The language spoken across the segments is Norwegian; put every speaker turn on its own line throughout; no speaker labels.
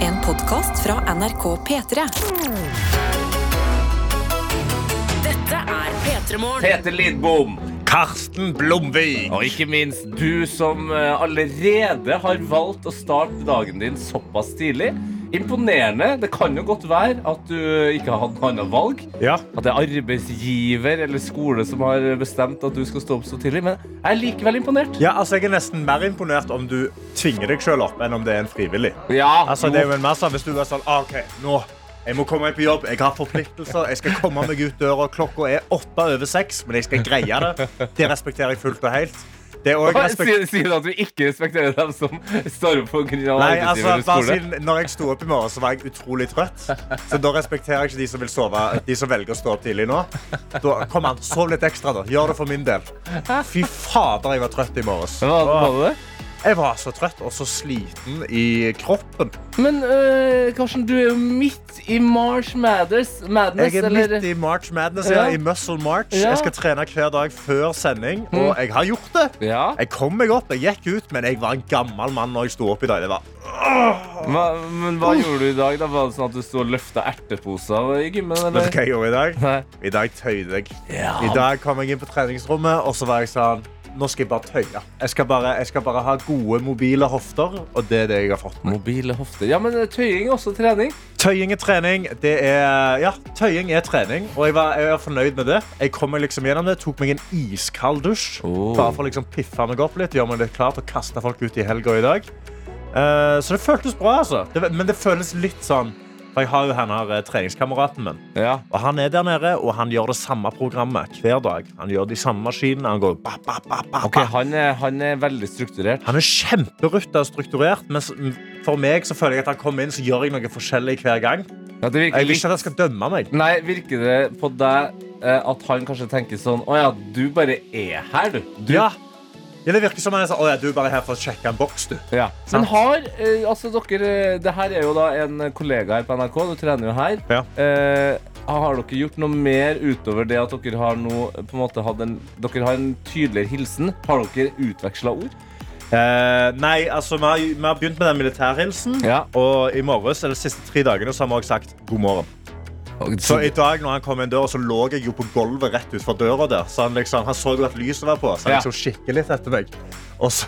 En podkast fra NRK P3.
Dette er P3 Morgen.
Peter Lidbom,
Karsten Blomvik.
og ikke minst du som eh, allerede har valgt å starte dagen din såpass tidlig. Imponerende. Det kan jo godt være at du ikke har hatt noe annet valg.
Ja.
At det er arbeidsgiver eller skole som har bestemt at du skal stå opp så tidlig. Men jeg er likevel imponert.
ja, altså Jeg er nesten mer imponert om du tvinger deg selv opp, enn om det er en frivillig.
Ja,
Altså, det er jo en masse Hvis du er sånn ah, OK, nå jeg må komme meg på jobb, jeg har forpliktelser, jeg skal komme meg ut døra. Klokka er åtte over seks, men jeg skal greie det. Det respekterer jeg fullt og helt. Det er også respekt...
Sier sier du at vi ikke respekterer dem som står opp på grunn av
Nei, altså,
arbeidsgiver eller
bare
skole?
siden når jeg sto opp i morgen, så var jeg utrolig trøtt. Så da respekterer jeg ikke de som, vil sove, de som velger å stå opp tidlig nå. Da, kom an, Sov litt ekstra, da. Gjør det for min del. Fy fader, jeg var trøtt i morges.
Hva var det?
Jeg var så trøtt og så sliten i kroppen.
Men eh, Karsten, du er jo midt i March Madness. Madness
Jeg er
eller?
midt i March Madness, ja.
Ja.
i Muscle March.
Ja. Mm.
Jeg skal trene hver dag før sending, og jeg har gjort det.
Ja.
Jeg kom meg opp, jeg gikk ut, men jeg var en gammel mann når jeg sto opp i dag. Det var
Hva, men hva gjorde du i dag? da? Var det sånn at du stod og løfta erteposer i gymmen?
Vet
Eller?
du hva jeg gjorde i dag?
Nei.
I dag tøyde jeg.
Ja.
I dag kom jeg inn på treningsrommet, og så var jeg sånn Nå skal jeg bare tøye. Jeg skal bare, jeg skal bare ha gode mobile hofter, og det er det jeg har fått.
Mobile hofter. Ja, men eh, tøying er også trening.
Tøying er trening. Det er, ja, tøying er trening, og jeg var, jeg var fornøyd med det. Jeg kom meg liksom gjennom det, tok meg en iskald dusj.
Oh.
Bare for å liksom piffe meg opp litt, gjøre meg litt klar til å kaste folk ut i helga i dag. Eh, så det føltes bra, altså. Det, men det føles litt sånn For jeg har jo han her eh, treningskameraten min.
Ja.
Og han er der nede, og han gjør det samme programmet hver dag. Han gjør de samme maskinene. Han går ba, ba, ba, ba,
Ok,
ba.
han er, han er veldig strukturert.
Han er kjemperutta og strukturert, men s- for meg så føler jeg at han kommer inn, så gjør jeg noe forskjellig hver gang.
Ja, det virker
Jeg vil
litt...
ikke at han skal dømme meg.
Nei, virker det på deg eh, at han kanskje tenker sånn Å ja, du bare er her, du. du.
Ja. Ja, det virker som han er sånn, «Å ja, du er bare her for å sjekke en boks, du.
Ja. Men
Sant.
har eh, Altså, dere eh, Det her er jo da en kollega her på NRK. Du trener jo her.
Ja.
Eh, har dere gjort noe mer utover det at dere har nå eh, på en måte hatt en Dere har en tydeligere hilsen. Har dere utveksla ord?
Eh, nei, altså, vi har, vi har begynt med den militærhilsen.
Ja.
Og i morges, eller de siste tre dagene så har vi også sagt god morgen. Så i dag når han kom inn døra, så lå jeg jo på gulvet rett ut fra døra der. Så han, liksom, han så jo at lyset var på, så han
Ja.
liksom kikker litt etter meg. Og så,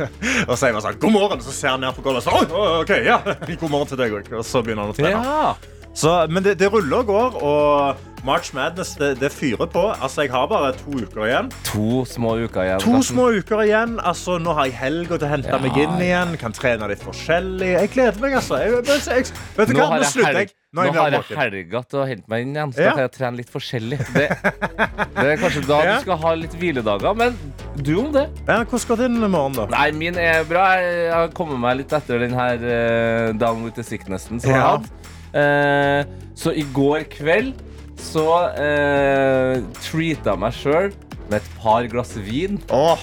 og så er jeg bare sånn, god morgen, så ser han ned på gulvet og så, «Oi, oi, ok, ja, god morgen til deg også. Og så begynner han å trene.
ja.
Så, men det, det ruller og går, og March Madness, det, det fyrer på. Altså, jeg har bare to uker igjen.
To små uker igjen.
To
Karsten.
små uker igjen. Altså, nå har jeg helga til å hente
Ja,
meg inn igjen. Kan trene litt forskjellig. Jeg gleder meg, altså. Jeg, jeg, jeg, vet du
Nå
hva?
har
Nå
jeg,
slutter
helg,
jeg. Nå er jeg
nå har
mer
jeg
våken.
helga til å hente meg inn igjen, så
Ja.
da kan jeg trene litt forskjellig. Det, det er kanskje da
Ja.
du skal ha litt hviledager, men du om det.
Ja, hvordan går din morgen, da?
Nei, min er bra. Jeg har kommet meg litt etter den her eh, Down with the sicknessen som jeg
Ja.
hadde. Eh, så i går kveld så uh, treata jeg meg sjøl med et par glass vin.
Åh,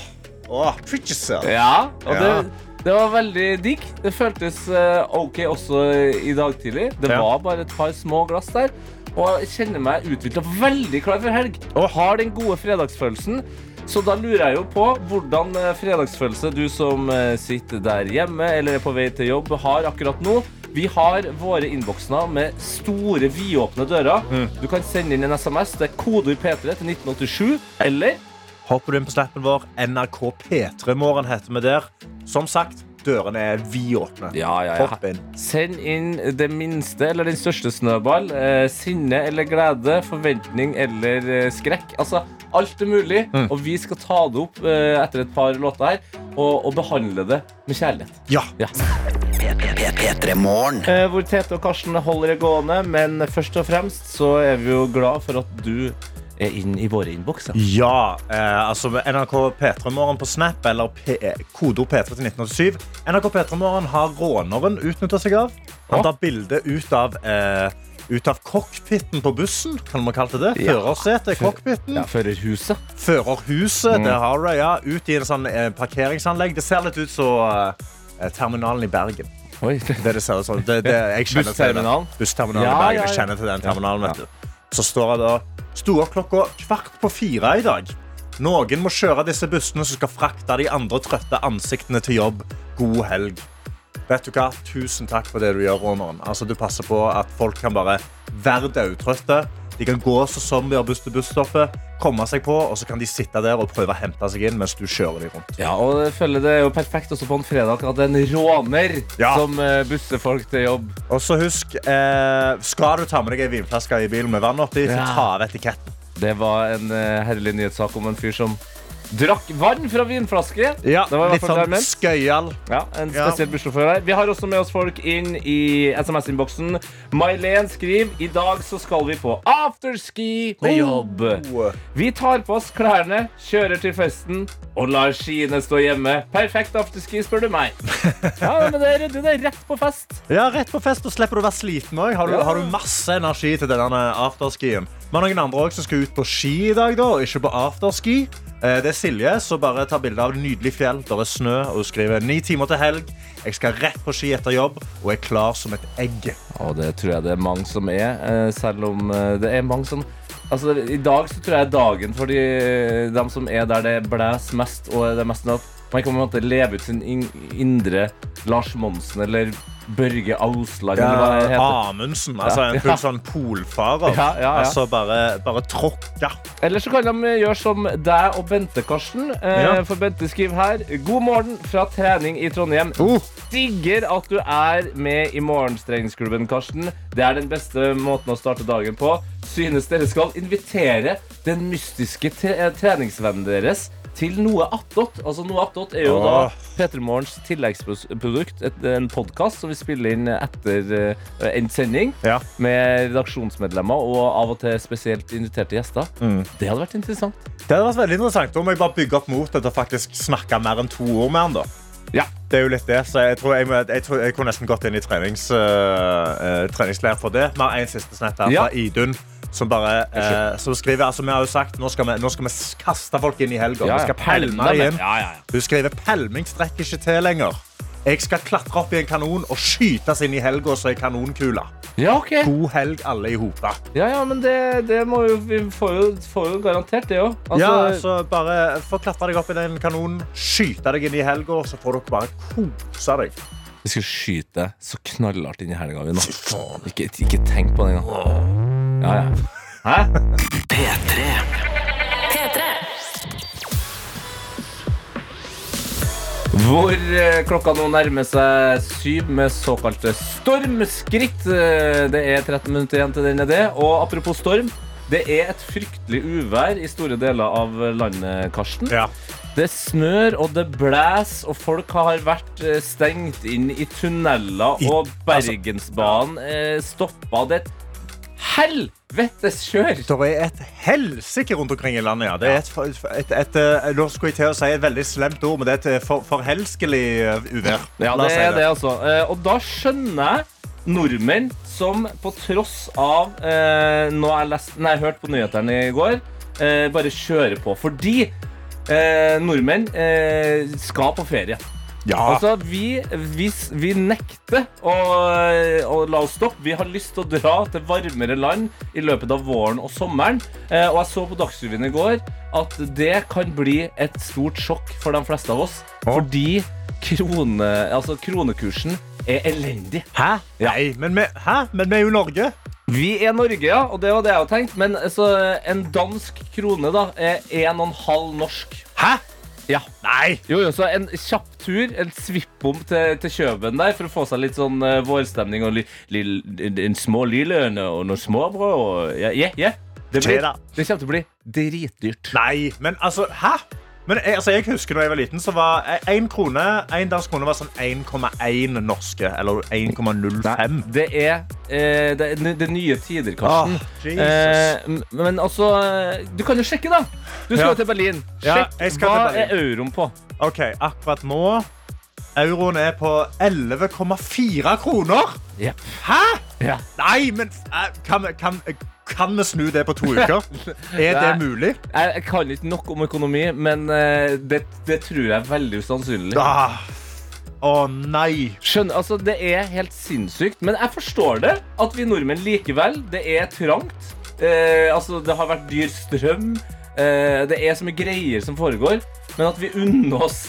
åh, Fridges, ja.
Ja, og
Ja.
Det, det var veldig digg. Det føltes eh, OK også i dag tidlig. Det
Ja.
var bare et par små glass der. Og jeg kjenner meg utvikla veldig klar for helg.
Åh.
Og har den gode fredagsfølelsen. Så da lurer jeg jo på hvordan eh, fredagsfølelse du som eh, sitter der hjemme eller er på vei til jobb, har akkurat nå. Vi har våre innboksene med store, vidåpne dører.
Mm.
Du kan sende inn en SMS. Det er kodeord P3 til 1987. Eller
Hopper du inn på snappen vår. NRK P3morgen heter vi der. Som sagt, dørene er vidåpne.
Ja, ja, ja.
Hopp inn.
Send inn det minste eller den største snøball. Eh, sinne eller glede, forventning eller eh, skrekk. Altså, alt er mulig. Og vi skal ta det opp eh, etter et par låter her, og, og behandle det med kjærlighet.
Ja.
Ja. Eh, hvor Tete og Karsten holder det gående, men først og fremst så er vi jo glad for at du er inn i våre innbokser.
Ja, eh, altså med NRK P3morgen på Snap eller P kodeord P3 til 1987. NRK P3morgen har råneren utnytta seg av.
Ja.
Han tar bilde ut av eh, ut av cockpiten på bussen, kan man kalle det det.
Ja.
Førersetet, cockpiten.
Ja, Førerhuset.
Førerhuset, det har du, ja. Ut i en sånn eh, parkeringsanlegg. Det ser litt ut som eh, terminalen i Bergen.
Oi.
Det er det ser ut som. Det, det, jeg kjenner til det.
Bussterminalen?
Bussterminalen
Ja,
i Bergen.
ja,
Jeg
ja.
kjenner til den terminalen, vet du. Så står jeg da Sto opp klokka kvart på fire i dag. Noen må kjøre disse bussene som skal frakte de andre trøtte ansiktene til jobb. God helg. Vet du hva? Tusen takk for det du gjør, Ronan. Altså, du passer på at folk kan bare være daudtrøtte. De kan gå som zombier buss til busstoppet, komme seg på, og så kan de sitte der og prøve å hente seg inn mens du kjører dem rundt.
Ja, og jeg føler det er jo perfekt også på en fredag at det er en råner
Ja.
som eh, busser folk til jobb.
Og så husk, eh, skal du ta med deg ei vinflaske i bilen med vann oppi, så
Ja.
ta av etiketten.
Det var en eh, herlig nyhetssak om en fyr som drakk vann fra vinflaske. det var i hvert
litt
fall det jeg
sånn
mente.
skøyal.
Ja, en
Ja.
spesiell bussjåfør her. Vi har også med oss folk inn i SMS-innboksen. Mailen skriver i dag så skal vi på afterski med jobb.
Oh.
Vi tar på oss klærne, kjører til festen og lar skiene stå hjemme. Perfekt afterski, spør du meg. Ja, men det er ryddig. Det er rett på fest.
Ja, rett på fest, og slipper du å være sliten òg. Har, du-
Ja.
har du masse energi til denne afterskien? Vi har noen andre også som skal ut på ski i dag, da, og ikke på afterski. Eh, Det er Silje som bare tar bilde av nydelig fjell. Der er snø, og hun skriver ni timer til helg. Jeg skal rett på ski etter jobb og er klar som et egg.
Og det tror jeg det er mange som er, eh, selv om eh, det er mange som Altså, I dag så tror jeg er dagen for de, eh, dem som er der det blæs mest, og det er mest sånn at man kan på en måte leve ut sin in indre Lars Monsen eller Børge Ausland eller hva det heter.
Amundsen. Altså en full sånn
Ja,
polfarer.
ja, ja.
Altså bare, bare tråkka.
Eller så kan de eh, gjøre som deg og Bente, Karsten. Eh,
Ja.
For Bente skriver her God morgen fra trening i Trondheim.
Uh.
Digger at du er med i morgenstreningsklubben, Karsten. Det er den beste måten å starte dagen på. Synes dere skal invitere den mystiske tre eh, treningsvennen deres til noe attåt. Altså, noe attåt er jo
Åh.
da Peter Morgens tilleggsprodukt, et, en podkast som vi spiller inn etter eh, endt sending
Ja.
med redaksjonsmedlemmer og av og til spesielt inviterte gjester.
Mm.
Det hadde vært interessant.
Det hadde vært veldig interessant. Da må jeg bare bygge opp motet til å faktisk snakke mer enn to ord med han. da.
Ja.
Det er jo litt det, så jeg tror jeg, må, jeg, tror jeg kunne nesten gått inn i trenings, øh, øh, treningsleir for det. Vi har en siste snett her
Ja.
fra Idun. Som, bare, øh, som skriver altså, Vi har jo sagt nå skal vi, nå skal vi kaste folk inn i helga.
Ja, ja.
vi skal pælme
Pælme dem,
igjen. Hun skriver pelming strekker ikke til lenger. Jeg skal klatre opp i en kanon og skytes inn i helga som ei kanonkule.
Ja, ok.
God helg, alle i hopa.
Ja, ja, men det, det må jo Vi får jo, får jo garantert det òg.
ja, altså, bare få klatre deg opp i den kanonen, skyte deg inn i helga, så får dere bare kose deg.
Vi skal skyte deg så knallhardt inn i helga vi nå. Ikke, ikke tenk på det engang. Ja, ja. Hæ?
P3.
Hvor eh, klokka nå nærmer seg syv med såkalte stormskritt. Eh, Det er 13 minutter igjen til den er det. Og apropos storm. Det er et fryktelig uvær i store deler av landet, Karsten.
Ja.
Det snør og det blæs, og folk har vært eh, stengt inn i altså- tunneler.
I-
Og Bergensbanen eh, stoppa. Det er et helvetes kjør!
Det er et helsike rundt omkring i landet. Ja. Det er et, for- et, et, eh, nå skulle jeg til å si et veldig slemt ord, men det er et eh, for, forhelskelig eh, uvær.
Ja, det
La oss si
er det, altså. Eh, Og da skjønner jeg nordmenn som på tross av eh, noe jeg lest, nei, hørte på nyhetene i går, eh, bare kjører på. Fordi eh, nordmenn eh, skal på ferie.
Ja.
Altså, vi, vi, vi nekter å, å la oss stoppe. Vi har lyst til å dra til varmere land i løpet av våren og sommeren. Eh, og jeg så på Dagsrevyen i går at det kan bli et stort sjokk for de fleste av oss. Fordi krone, altså kronekursen er elendig.
Hæ? Nei, men vi, hæ? Men vi er jo Norge.
Vi er Norge, ja, og det var det jeg hadde tenkt. Men altså, en dansk krone da, er en og en halv norsk.
Hæ?
Ja.
Nei.
Jo, jo, så en kjapp tur, en svippom til, til Kjøben der, for å få seg litt sånn eh, vårstemning og li, li, en små liløne og noen småbrød og Ja, ja. ja. Det, blir,
Tjena.
det kommer til å bli dritdyrt.
Nei, men altså, hæ? Men jeg, altså, jeg husker da jeg var liten, så var eh, en krone, en dansk krone var sånn 1,1 norske, eller 1,05.
Det er, eh, det, er n- det er nye tider, Karsten.
Ah, Jesus.
Eh, m- men altså eh, Du kan jo sjekke, da. Du skal
Ja.
jo til Berlin.
Ja,
Sjekk
jeg skal
hva
til Berlin.
er euroen på.
Ok, akkurat nå, euroen er på 11,4 kroner.
Jepp.
Hæ?
Ja.
Nei, men eh, kan, vi- kan, kan vi snu det på to uker? Er det
Nei.
mulig?
Jeg, jeg kan ikke nok om økonomi, men eh, det, det tror jeg er veldig usannsynlig.
Ah. Å nei.
Skjønner, altså Det er helt sinnssykt, men jeg forstår det. At vi nordmenn likevel. Det er trangt. Eh, altså Det har vært dyr strøm. Eh, det er så mye greier som foregår. Men at vi unner oss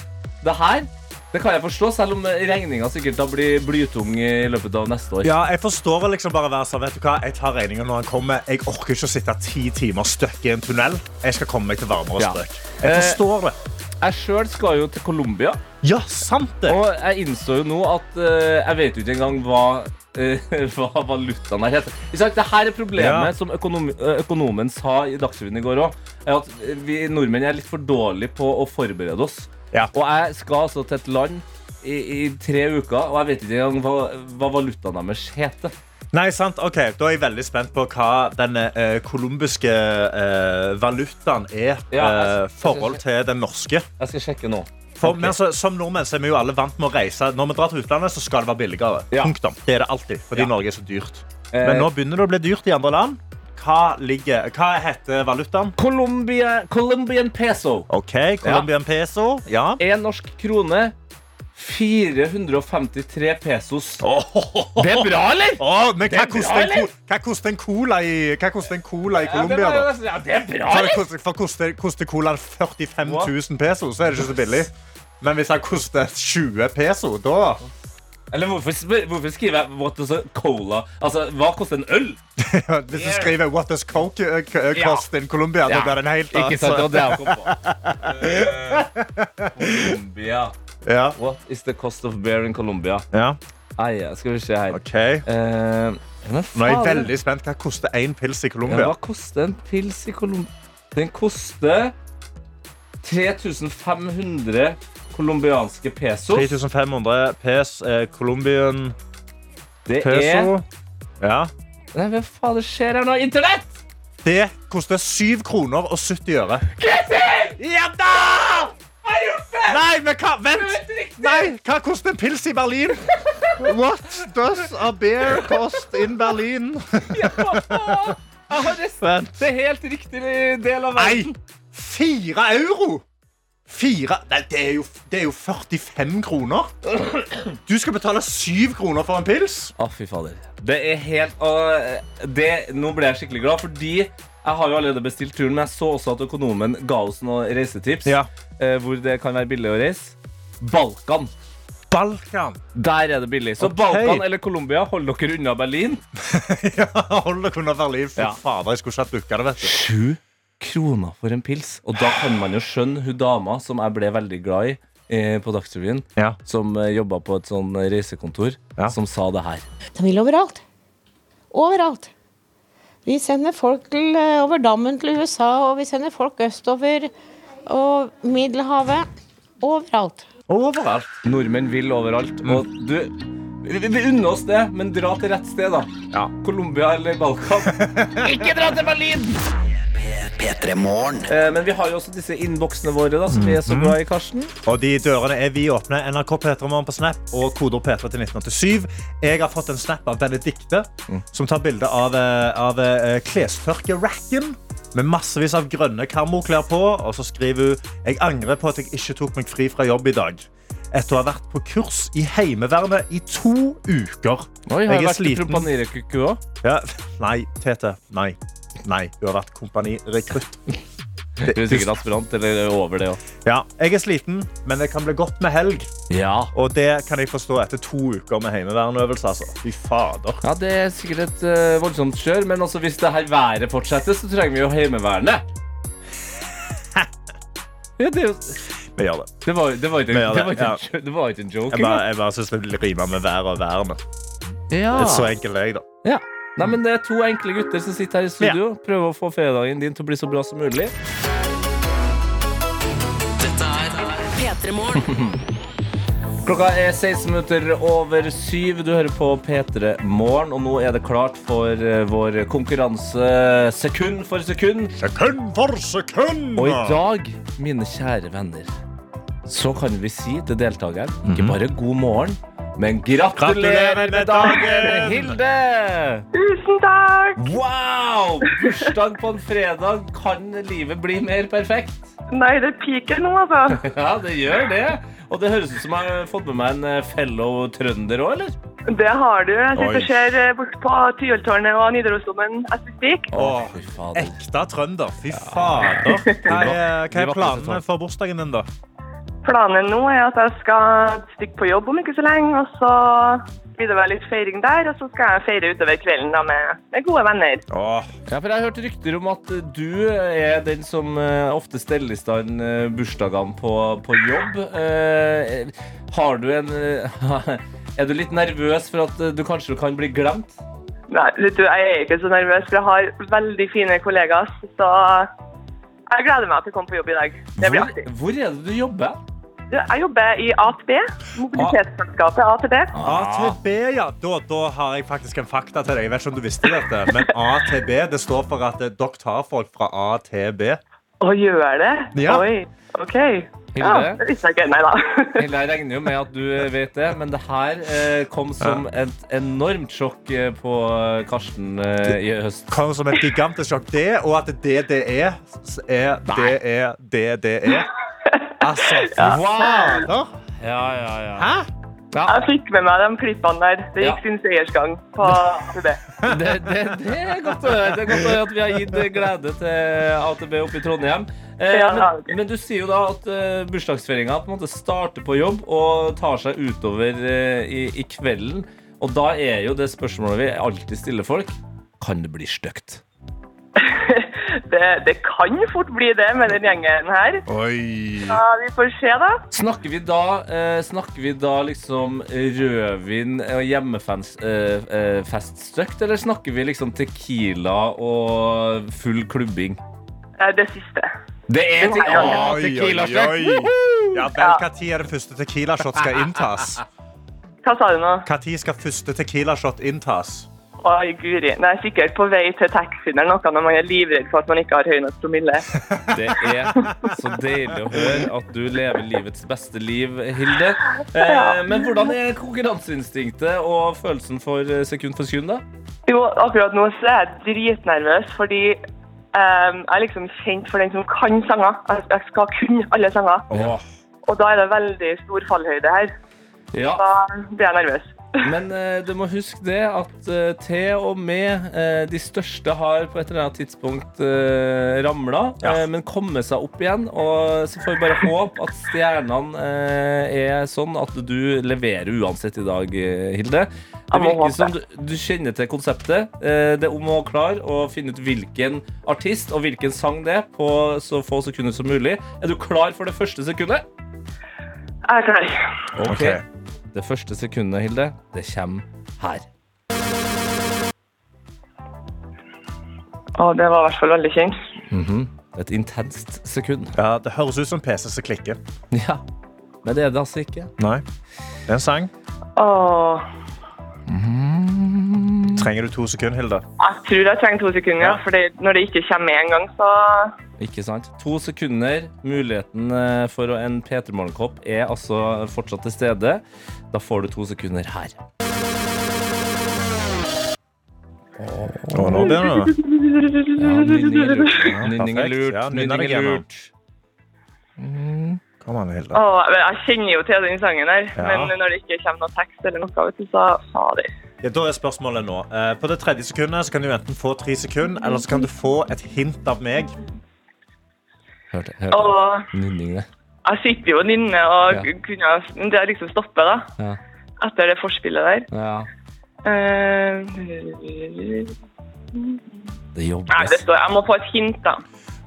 det her, Det kan jeg forstå, selv om regninga sikkert da blir blytung i løpet av neste år.
Ja, jeg forstår å liksom bare være sånn, vet du hva, jeg tar regningen når han kommer. Jeg orker ikke å sitte ti timer støkk i en tunnel. Jeg skal komme meg til varmere
Ja.
strøk.
Eh,
Jeg forstår det.
Jeg sjøl skal jo til Colombia,
Ja, sant det.
og jeg innså jo nå at eh, jeg vet jo ikke engang hva eh, hva valutaen her heter. Ikke sant? Dette er problemet
Ja.
som økonom, eh, økonomen sa i Dagsrevyen i går òg. At eh, vi nordmenn er litt for dårlige på å forberede oss.
Ja.
Og jeg skal altså til et land i, i tre uker, og jeg vet ikke engang hva, hva valutaen deres heter.
Nei, sant. Ok, Da er jeg veldig spent på hva den eh, colombiske eh, valutaen er
Ja, jeg-
eh,
jeg-
forhold til den norske.
Jeg skal sjekke nå.
For,
Ok.
men altså, Som nordmenn så er vi jo alle vant med å reise. Når vi drar til utlandet, så skal det være billigere.
Ja.
Punktum. Det er det alltid, fordi
Ja.
Norge er så dyrt.
Eh,
Men nå begynner det å bli dyrt i andre land. Hva, ligger, hva heter valutaen?
Colombia, Colombian peso.
OK, Colombian peso. Ja.
En norsk krone. 453 pesos. Det er bra, eller?
Åh, men
Det
hva
er bra,
koster en,
eller?
ko- hva koster en cola i, hva koster en cola i
Ja, det,
Colombia, da?
var- ja, det er bra,
For,
eller?
koster- for koster, koster colaen 45
Hva?
000 peso, så er det ikke så billig. Men hvis han koster 20 peso, da
Eller hvorfor, spør- hvorfor skriver jeg what does a cola? Altså, hva koster en øl?
Hvis du skriver 'What does coke uh, co- uh, cost in Colombia', da blir det en helt annen.
Ikke sant, det
så-
var det jeg kom på. Eh, Colombia.
Ja.
What is the cost of beer in Colombia?
ja,
Ai, ja, skal vi se her.
ok.
Eh, men
Nå er jeg
faen,
veldig spent. Hva koster én pils i
ja,
Colombia?
Hva koster en pils i Colombia? Den koster 3500 colombianske pesos.
3500 pes, eh, Colombian
Det er
peso. Ja.
Nei, hva faen det skjer her nå? Internett!
Det koster 7 kroner og 70 øre. Ja da!
Har jeg gjort det?
Nei, men hva? Vent!
Helt riktig!
Nei, hva koster en pils i Berlin? What does a beer cost in Berlin?
Ja, hva faen? Jeg har rest-
Vent.
Det er helt riktig del av verden.
Nei, fire euro! Fire Nei, det er, jo, det er jo 45 kroner. Du skal betale syv kroner for en pils.
Å, fy fader. Det er helt og det, Nå ble jeg skikkelig glad, fordi jeg har jo allerede bestilt turen, men jeg så også at økonomen ga oss noen reisetips
Ja.
eh, hvor det kan være billig å reise. Balkan.
Balkan.
Der er det billig. Så
Ok.
Balkan eller Colombia, hold dere unna Berlin.
Ja, hold dere unna Berlin. Fy
Ja.
fader, jeg skulle ikke hatt booka det, vet du.
Sju kroner for en pils. Og da kan man jo skjønne hun dama som jeg ble veldig glad i eh, på Dagsrevyen,
Ja.
som eh, jobba på et sånn reisekontor,
Ja.
som sa det her.
De vil overalt. Overalt. Vi sender folk til, eh, over dammen til USA, og vi sender folk østover og Middelhavet. Overalt.
Overalt.
Nordmenn vil overalt. Og du vi, vi unner oss det, men dra til rett sted, da.
Ja.
Colombia eller Balkan. Ikke dra til Berlin! Eh, men vi har jo også disse innboksene våre, da, som vi er så glad i, Karsten.
Og de dørene er vi åpne. NRK Petremorgen på Snap og koder P3 til 1987. Jeg har fått en snap av Benedicte, som tar bilde av, eh, av eh, klestørkeracken. Med massevis av grønne karmoklær på. Og så skriver hun Jeg angrer på at jeg ikke tok meg fri fra jobb i dag. Etter å ha vært på kurs i Heimevernet i to uker.
Oi,
jeg er sliten.
propanirekuku òg?
Ja. Nei, Tete. Nei. Nei. Du har vært kompanirekrutt.
Du er sikkert aspirant, eller over det òg.
Ja, jeg er sliten, men det kan bli godt med helg.
Ja.
Og det kan jeg forstå etter to uker med heimeverneøvelse. Altså. Fy fader.
Ja, Det er sikkert et eh, voldsomt kjør, men altså, hvis det her været fortsetter, så trenger vi jo Heimevernet. Ja, det, er jo-
Vi gjør det.
det var det var ikke
Men ja,
det var ikke
ja.
en jo- det var ikke en joke.
Jeg bare, jeg bare syns det rimer med vær og verne.
engang. Ja.
Så enkel er jeg, da.
Ja. Nei, men Det er to enkle gutter som sitter her i studio prøver å få fredagen din til å bli så bra som mulig.
P3morgen.
Klokka er 16 minutter over syv. Du hører på P3 Morgen, og nå er det klart for eh, vår konkurranse sekund for sekund.
Sekund for sekund!
Og i dag, mine kjære venner, så kan vi si til deltakeren ikke bare god morgen, men Mhm. gratulerer med dagen, Hilde!
Tusen takk!
Wow! Bursdag på en fredag. Kan livet bli mer perfekt?
Nei, det piker nå, altså.
Ja, det gjør det. Og det høres ut som jeg har fått med meg en eh, fellow trønder òg, eller?
Det har du. Jeg sitter
Oi.
og ser eh, bort på Tyholttårnet og Nidarosdomen as we speak.
Åh,
fy fader.
Ekte trønder. Fy fader. Hva er, hva
De
er
var
planene
ikke så
for bursdagen din, da?
Planen nå er at jeg skal stikke på jobb om ikke så lenge, og så blir det vel litt feiring der, og så skal jeg feire utover kvelden da med, med gode venner.
Åh,
Ja, for Jeg har hørt rykter om at eh, du er den som eh, ofte steller i stand eh, bursdagene på, på jobb. Eh, Har du en eh, Er du litt nervøs for at eh, du kanskje kan bli glemt?
Nei, vet du, jeg er ikke så nervøs, for jeg har veldig fine kollegaer, så jeg gleder meg til å komme på jobb i dag. Det blir
Hvor,
artig.
hvor er det du jobber?
Du, Jeg jobber i AtB, mobilitetsselskapet AtB.
AtB, ja. Da, da har jeg faktisk en fakta til deg. Jeg vet ikke om du visste dette, men AtB det står for at eh, dere tar folk fra A til B.
Å, gjør det?
Ja.
Oi, ok. Ja,
Hilde?
det visste jeg ikke. Nei da.
Eller jeg regner jo med at du eh, vet det, men det her eh, kom som et enormt sjokk eh, på Karsten eh, i høst.
Kom som et gigantisk sjokk. Det, og at det det er, s- er det er det det er. Altså, fy fader!
Ja, ja, ja.
Hæ?
Ja,
Jeg fikk med meg de klippene der. Det
Ja.
gikk sin seiersgang på AtB.
det, det, det er godt å høre. Det er godt å høre at vi har gitt eh, glede til AtB oppe i Trondheim. Eh,
Ja,
men,
ok.
men du sier jo da at eh, bursdagsfeiringa på en måte starter på jobb og tar seg utover eh, i, i kvelden. Og da er jo det spørsmålet vi alltid stiller folk, kan det bli stygt?
Det, det kan fort bli det med den gjengen her.
Oi.
Ja, vi får se, da.
Snakker vi da, eh, snakker vi da liksom rødvin og hjemmefeststygt, eh, feststygt, eller snakker vi liksom tequila og full klubbing?
Eh, Det siste.
Det er
te- Ja,
Oi, oi, oi. Ja vel, hva tid er det første tequila shot skal inntas?
Hva sa du nå?
Hva tid skal første tequila shot inntas?
Oi, guri. Det er sikkert på vei til taxien eller noe når man er livredd for at man ikke har høy nok promille.
Det er så deilig å høre at du lever livets beste liv, Hilde. Eh, men hvordan er konkurranseinstinktet og følelsen for eh, sekund for sekund, da?
Jo, akkurat nå så er jeg dritnervøs, fordi ehm, jeg er liksom kjent for den som kan sanger. Jeg, jeg skal kunne alle sanger. Og da er det veldig stor fallhøyde her.
Ja,
Da blir jeg nervøs.
Men eh, du må huske det at eh, til og med eh, de største har på et eller annet tidspunkt eh, ramla,
Ja.
eh, men kommet seg opp igjen. Og så får vi bare håpe at stjernene eh, er sånn at du leverer uansett i dag, eh, Hilde. Det
Jeg må
virker
håpe.
som du, du kjenner til konseptet. Eh, det er om å klare å finne ut hvilken artist og hvilken sang det er på så få sekunder som mulig. Er du klar for det første sekundet?
Jeg er klar.
Ok.
Det første sekundet, Hilde, det kommer her.
Å, det var i hvert fall veldig kjent.
Et intenst sekund.
Ja, det høres ut som PC som klikker.
Ja. Men det er det altså ikke.
Nei. Det er en sang.
Å,
Trenger du to sekunder, Hilde?
jeg tror jeg trenger to sekunder, for når det ikke kommer med en gang, så
Ikke sant? To sekunder. Muligheten eh, for å- en P3 Morgenkopp er altså fortsatt til stede. Da får du to sekunder her.
Å, nå begynner det.
Ja, nynning er lurt. Nynning er
perfekt.
lurt.
Ja, nynner
Nynning
deg
er
gjennom.
lurt.
Kom an, Hilde.
Å, jeg, jeg kjenner jo til den sangen her,
Ja.
men når det ikke kommer noe tekst eller noe, vet du, så fader.
Ja, da er spørsmålet nå. Eh, På det tredje sekundet så kan du enten få tre sekunder, eller så kan du få et hint av meg.
Hørte,
Å,
hørte. Nynning, det.
jeg sitter jo og nynner og
Ja.
kunne men Det liksom stopper, da.
Ja.
Etter det forspillet der.
Ja.
Eh,
Det
nei, det
jobbes.
står Jeg må få et hint, da.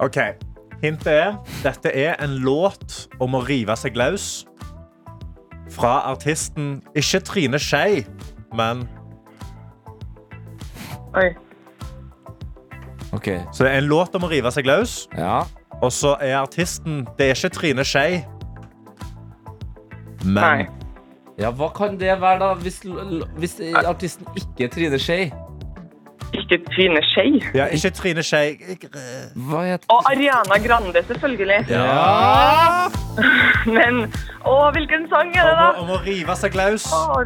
Ok. Hintet er dette er en låt om å rive seg løs fra artisten ikke Trine Skei, men
Oi.
OK.
Så det er en låt om å rive seg løs,
Ja.
og så er artisten Det er ikke Trine Skei, men
Nei.
ja, hva kan det være, da? Hvis, l- l- hvis artisten ikke er Trine Skei?
Ikke Trine Skei.
Ja, ikke Trine Skei jeg-
Hva heter
Og Ariana Grande, selvfølgelig.
Ja!
Men Å, hvilken sang er
om,
det,
å-
da?
om å rive seg løs.
Å,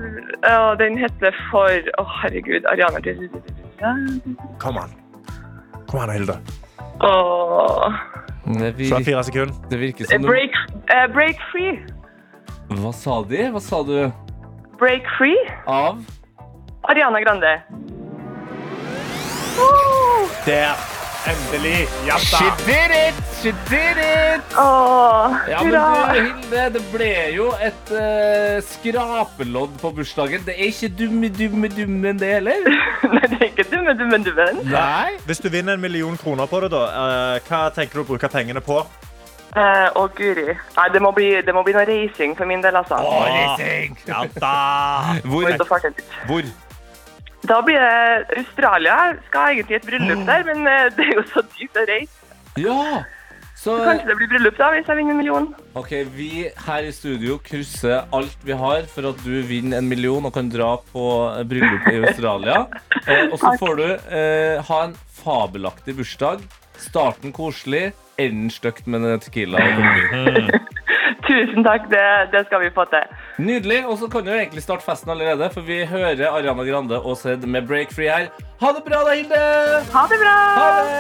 å, den heter for Å, herregud. Ariana
Kom an. Kom an, Hilde.
Å
Det,
Så er
vir
det fire sekunder.
det virker som du
break, eh, break Free.
Hva sa de? Hva sa du?
Break Free.
Av?
Ariana Grande.
Der. Endelig. Ja
She did it! She did it!
Åh,
Ja, men
hurra!
du, Hilde, det ble jo et eh, skrapelodd på bursdagen. Det er ikke dumme, dumme, dumme enn det heller.
Nei, det er ikke dumme, dumme, dummen.
Nei.
Hvis du vinner en million kroner på det, da, eh, hva tenker du å bruke pengene på?
Eh, å, guri. Nei, det må, bli, det må bli noe racing for min del, altså.
Ja da!
Hvor?
Må ut og farte litt.
Hvor?
Da blir det Australia. Skal egentlig i et bryllup der, men eh, det er jo så dyrt å reise.
Ja! Så
Kanskje det blir bryllup da, hvis jeg vinner en million.
OK, vi her i studio krysser alt vi har for at du vinner en million og kan dra på eh, bryllupet i Australia. Eh, og så får du eh, ha en fabelaktig bursdag. Starten koselig, enden stygt med tequila. og konfyr.
Tusen takk, det, det skal vi få til.
Nydelig. Og så kan du jo egentlig starte festen allerede, for vi hører Ariana Grande og Zed med Break Free her. Ha det bra, da, Hilde!
Ha det bra!
Ha det!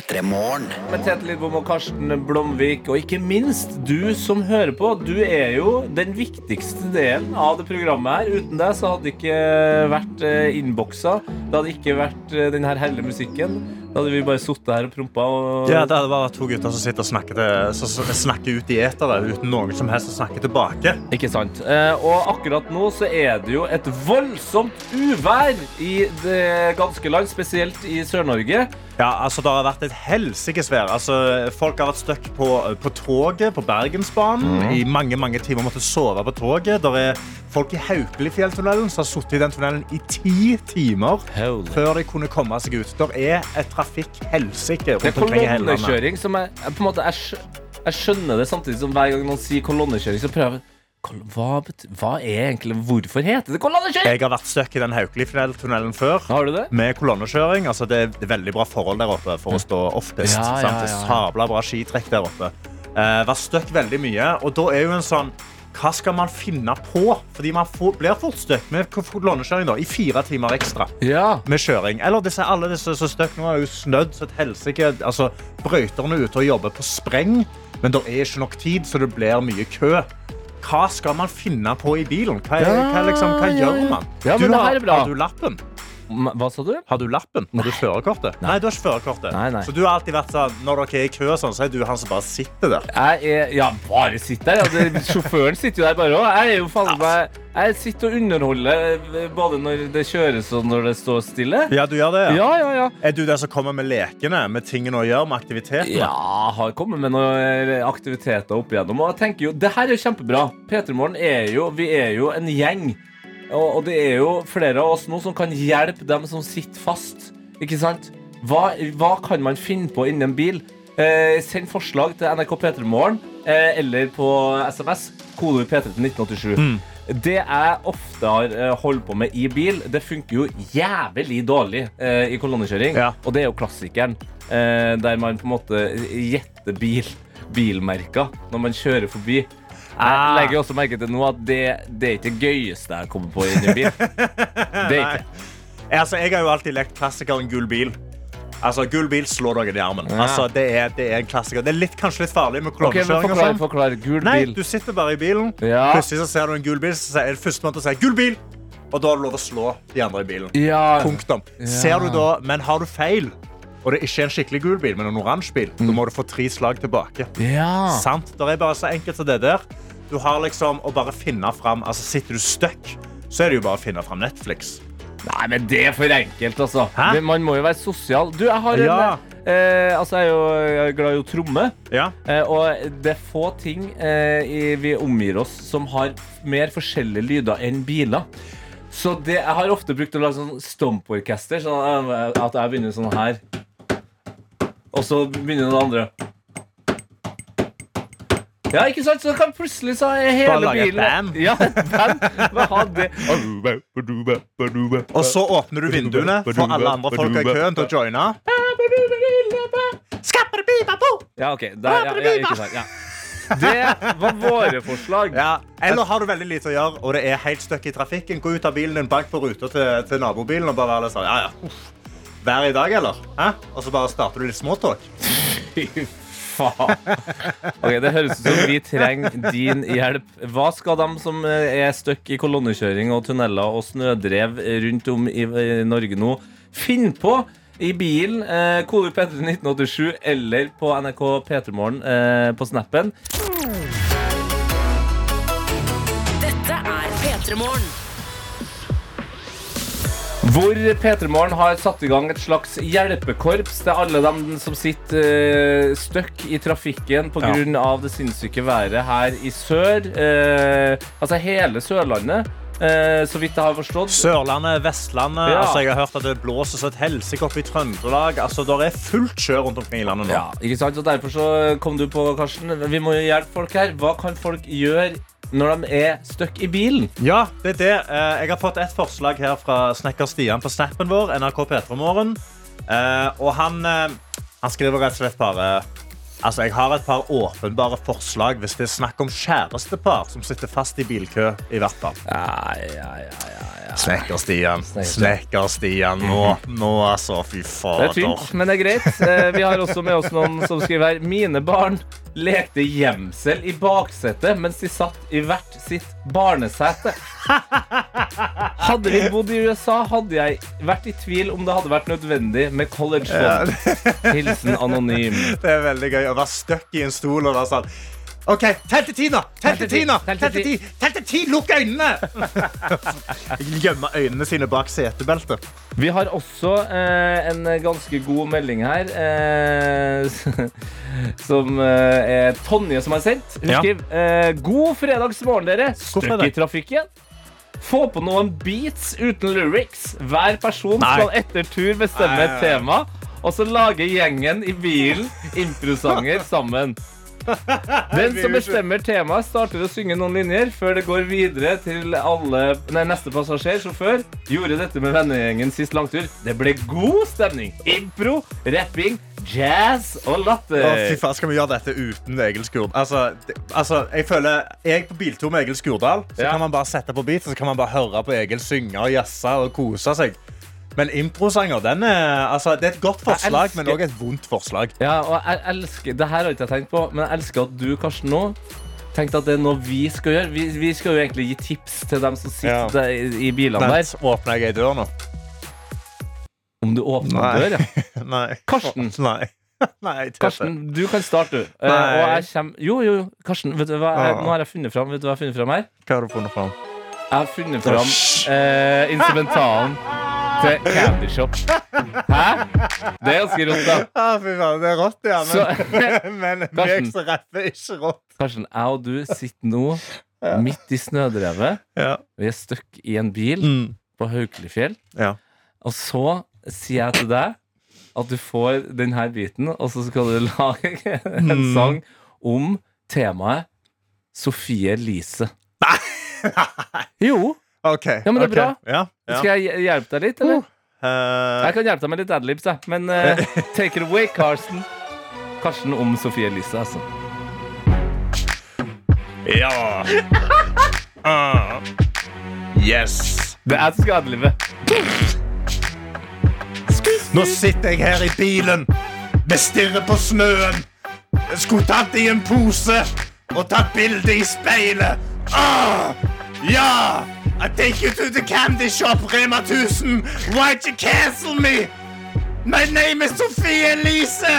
P3morgen.
Med Tete Lidbom og Karsten Blomvik, og ikke minst du som hører på. Du er jo den viktigste delen av det programmet her. Uten deg så hadde det ikke vært eh, innboksa. Det hadde ikke vært eh, den her herlige musikken. Da hadde vi bare sittet her og prompa og
Ja, det er bare to gutter som sitter og snakker, til, som- som snakker ut i eteren uten noen som helst å snakke tilbake.
Ikke sant. Eh, og akkurat nå så er det jo et voldsomt uvær i det ganske land, spesielt i Sør-Norge.
Ja, altså, Det har vært et helsikes vær. Altså, folk har vært stuck på, på toget på Bergensbanen
Mm.
i mange mange timer. Måtte sove på toget. Der er folk i Haukelifjelltunnelen som har sittet i den tunnelen i ti timer før de kunne komme seg ut. Der er et trafikkhelsike
Det er
rundt omkring i hele landet.
kolonnekjøring som jeg, jeg på en måte jeg, skj- jeg skjønner det samtidig som hver gang noen sier kolonnekjøring, så prøver jeg Kol- hva, bet- hva er egentlig Hvorfor heter det kolonnekjøring?
Jeg har vært støkk i den Haukelifjell-tunnelen før.
Har du det?
Med kolonnekjøring. Altså, det er veldig bra forhold der oppe for å stå oftest.
Ja, ja,
sant? Det er
ja, ja.
Sabla bra skitrekk der oppe. Uh, var støkk veldig mye. Og da er jo en sånn hva skal man finne på? Fordi man får, blir fort støkk med kolonnekjøring da, i fire timer ekstra.
Ja.
Med kjøring. Eller disse, alle disse som er støkk nå er jo snødd så et helsike. Altså, brøyterne er ute og jobber på spreng, men det er ikke nok tid, så det blir mye kø. Hva skal man finne på i bilen? Hva, er- hva, liksom, hva
Ja, ja,
gjør
ja.
man?
Ja, men
du,
det
har-
her er bra.
Har du lappen?
M- Hva sa du?
Har du lappen? Har du førerkortet? Nei. du har ikke førerkortet.
Nei, nei.
Så du har alltid vært sånn, når dere er i kø, og sånn, så er du han som bare sitter der.
Jeg er Ja, bare sitt der. Ja. Det, sjåføren sitter jo der bare òg. Jeg er jo faen meg Jeg sitter og underholder eh, både når det kjøres og når det står stille.
Ja, du gjør det, ja.
Ja, ja, ja.
Er du den som kommer med lekene, med tingene å gjøre, med aktivitetene?
Ja, har kommet med noen eh, aktiviteter opp igjennom. Og jeg tenker jo, det her er jo kjempebra. P3morgen er jo Vi er jo en gjeng. Og, og det er jo flere av oss nå som kan hjelpe dem som sitter fast. Ikke sant? Hva, hva kan man finne på innen en bil? Eh, send forslag til NRK P3morgen eh, eller på SMS. Kodeord P3 til 1987. Det jeg ofte har eh, holdt på med i bil, det funker jo jævlig dårlig eh, i kolonnekjøring.
Ja.
Og det er jo klassikeren, eh, der man på en måte gjetter bil, bilmerker når man kjører forbi. Jeg
Ah.
legger også merke til nå at det, det er ikke det gøyeste jeg kommer på inni bil. Det er ikke.
Altså, jeg har jo alltid lekt klassikeren gull bil. Altså, gull bil slår dere i armen. Altså, det, er, det er en klassiker. Det er litt, kanskje litt farlig med
Ok, men
kolonnekjøring. og
Forklar,
sånn.
forklar. Gul
Nei,
bil.
du sitter bare i bilen.
Ja.
Plutselig så ser du en gul bil, så er det førstemann til å si 'gull bil'. Og da er det lov å slå de andre i bilen.
Ja.
Punktum. Ser du da, men har du feil, og det er ikke en skikkelig gul bil, men en oransje bil, da må du få tre slag tilbake.
ja.
Sant? Det er bare så enkelt som det der. Du har liksom å bare finne fram Altså, sitter du stuck, så er det jo bare å finne fram Netflix.
Nei, men det er for enkelt, altså.
Hæ?
Det, man må jo være sosial. Du, jeg har en
Ja.
eh, Altså, jeg er jo jeg er glad i å tromme.
Ja.
Eh, og det er få ting eh, i, vi omgir oss som har mer forskjellige lyder enn biler. Så det, jeg har ofte brukt å lage sånn stomporkester. Sånn eh, at jeg begynner sånn her. Og så begynner den andre. Ja, ikke sant? Så kan plutselig så er hele
Bare lage et
bilen
band.
Ja, et band. Bare ha det.
Og så åpner du vinduene for alle andre folk i køen til å joine.
Ja, ok. Der, ja, ja, ikke sant. Ja. Det var våre forslag.
Ja. Eller har du veldig lite å gjøre, og det er helt støkk i trafikken, gå ut av bilen din, bank på ruta til, til nabobilen og bare være litt sånn Ja, ja. uff. Vær i dag, eller? Hæ? Og så bare starter du litt småtalk.
Fy faen. Ok, Det høres ut som vi trenger din hjelp. Hva skal de som eh, er stuck i kolonnekjøring og tunneler og snødrev rundt om i eh, Norge nå, finne på? I bilen, eh, kodeord P3 1987 eller på NRK P3morgen eh, på snappen.
Dette er P3 Morgen.
Hvor P3morgen har satt i gang et slags hjelpekorps til alle dem som sitter eh, støkk i trafikken pga.
Ja.
av det sinnssyke været her i sør. Eh, altså hele Sørlandet, eh, så vidt jeg har forstått.
Sørlandet, Vestlandet.
Ja.
Altså, jeg har hørt at det blåser så et helsike opp i Trøndelag. Altså, det er fullt kjør rundt omkring i landet nå.
Ja, ikke sant? Og derfor så kom du på, Karsten. Vi må jo hjelpe folk her. Hva kan folk gjøre når de er støkk i bilen?
Ja, det er det. Eh, Jeg har fått et forslag her fra snekker Stian på snappen vår. NRK Petremorgen. Eh, Og han, eh, han skriver rett og slett bare Altså, Jeg har et par åpenbare forslag hvis det er snakk om kjærestepar som sitter fast i bilkø. i hvert fall.
Nei, ja, ja, ja.
Snekker-Stian. Snekker-Stian. Nå, nå, altså. Fy
Det er
fader.
tynt, men det er greit. Eh, Vi har også med oss noen som skriver her Mine barn lekte gjemsel i baksetet mens de satt i hvert sitt barnesete. Hadde vi bodd i USA, hadde jeg vært i tvil om det hadde vært nødvendig med college fund. Hilsen anonym.
Det er veldig gøy å være støkk i en stol og være sånn OK, tell til ti, nå! Tell til ti, nå!
Tell
Tell
til
til ti! Tell til ti! Lukk øynene! Gjemme øynene sine bak setebeltet.
Vi har også eh, en ganske god melding her, eh, som eh, er Tonje som har sendt. Hun
Ja.
skriver eh, God fredagsmorgen, dere. Støkk i
fredag.
trafikken. Få på noen beats uten lyrics. Hver person
Nei.
skal etter tur bestemme
Nei,
et
nei, nei.
tema. Og så lager gjengen i bilen improsanger sammen. Den som bestemmer temaet, starter å synge noen linjer før det går videre til alle, nei, neste passasjer, sjåfør. Gjorde dette med vennegjengen sist langtur. Det ble god stemning. Impro, rapping, jazz og latter.
Å, fy faen, skal vi gjøre dette uten Egil Skurdal? Altså, det- altså, jeg føler Jeg er på biltur med Egil Skurdal. Så
Ja.
kan man bare sette på beat, og så kan man bare høre på Egil synge og jazze og kose seg. Men improsanger, den er Altså, det er et godt forslag, men
elsker-
òg et vondt forslag.
Ja, og jeg elsker Det her har ikke jeg tenkt på, men jeg elsker at du, Karsten, nå tenkte at det er noe vi skal gjøre. Vi, vi skal jo egentlig gi tips til dem som sitter
Ja.
der i, i bilene
Nei,
der.
åpner jeg ei dør nå?
Om du åpner
Nei.
døra.
Nei.
Karsten.
Nei. Nei, Tete.
Karsten, du kan starte, du. Eh,
Nei.
og jeg kjem... Jo, jo, jo. Karsten, vet du hva jeg,
Ah.
nå har jeg funnet fram, vet du hva jeg har funnet fram her?
Hva har du funnet fram?
Jeg har funnet fram eh, instrumentalen til Candy Shop. Hæ? Det er ganske rått, da.
Ja, fy faen, det er rått, ja.
Så,
men
Karsten.
som rapper, er ikke rått.
Karsten, jeg og du sitter nå midt i snødrevet.
Ja.
Vi er stuck i en bil
Mm.
på Haukelifjell.
Ja.
Og så sier jeg til deg at du får denne biten, og så skal du lage en
Mm.
sang om temaet Sofie Elise. Jo.
OK.
Ja, men det er
ok. Ja, ja.
Skal jeg hj- hjelpe deg litt, eller?
Eh,
Jeg kan hjelpe deg med litt adlibs, jeg. Men eh, take it away, Karsten. Karsten om Sofie Elise, altså.
ja. Ah. Yes.
Det er jeg som skal adlibe.
Nå sitter jeg her i bilen. Vi stirrer på snøen. Jeg skulle tatt i en pose og tatt bilde i speilet. Ah! Ja! I take you to the candy shop, Rema 1000. Why'd you cancel me? My name is Sofie Elise.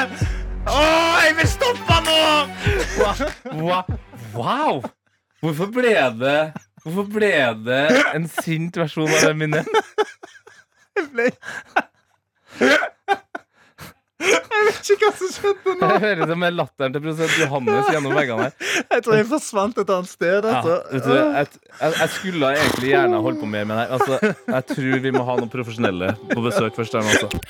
Åh, jeg vil stoppe nå!
Wa- Wow! Hvorfor ble det Hvorfor ble det en sint versjon av Eminem?
Ikke hva som skjedde nå.
Jeg hører det med latteren til produsent Johannes gjennom veggene her.
Jeg tror jeg forsvant et annet sted. altså.
Ja, vet du, jeg, jeg, jeg skulle egentlig gjerne holdt på mer med det her. Altså, jeg tror vi må ha noen profesjonelle på besøk først. her nå, altså.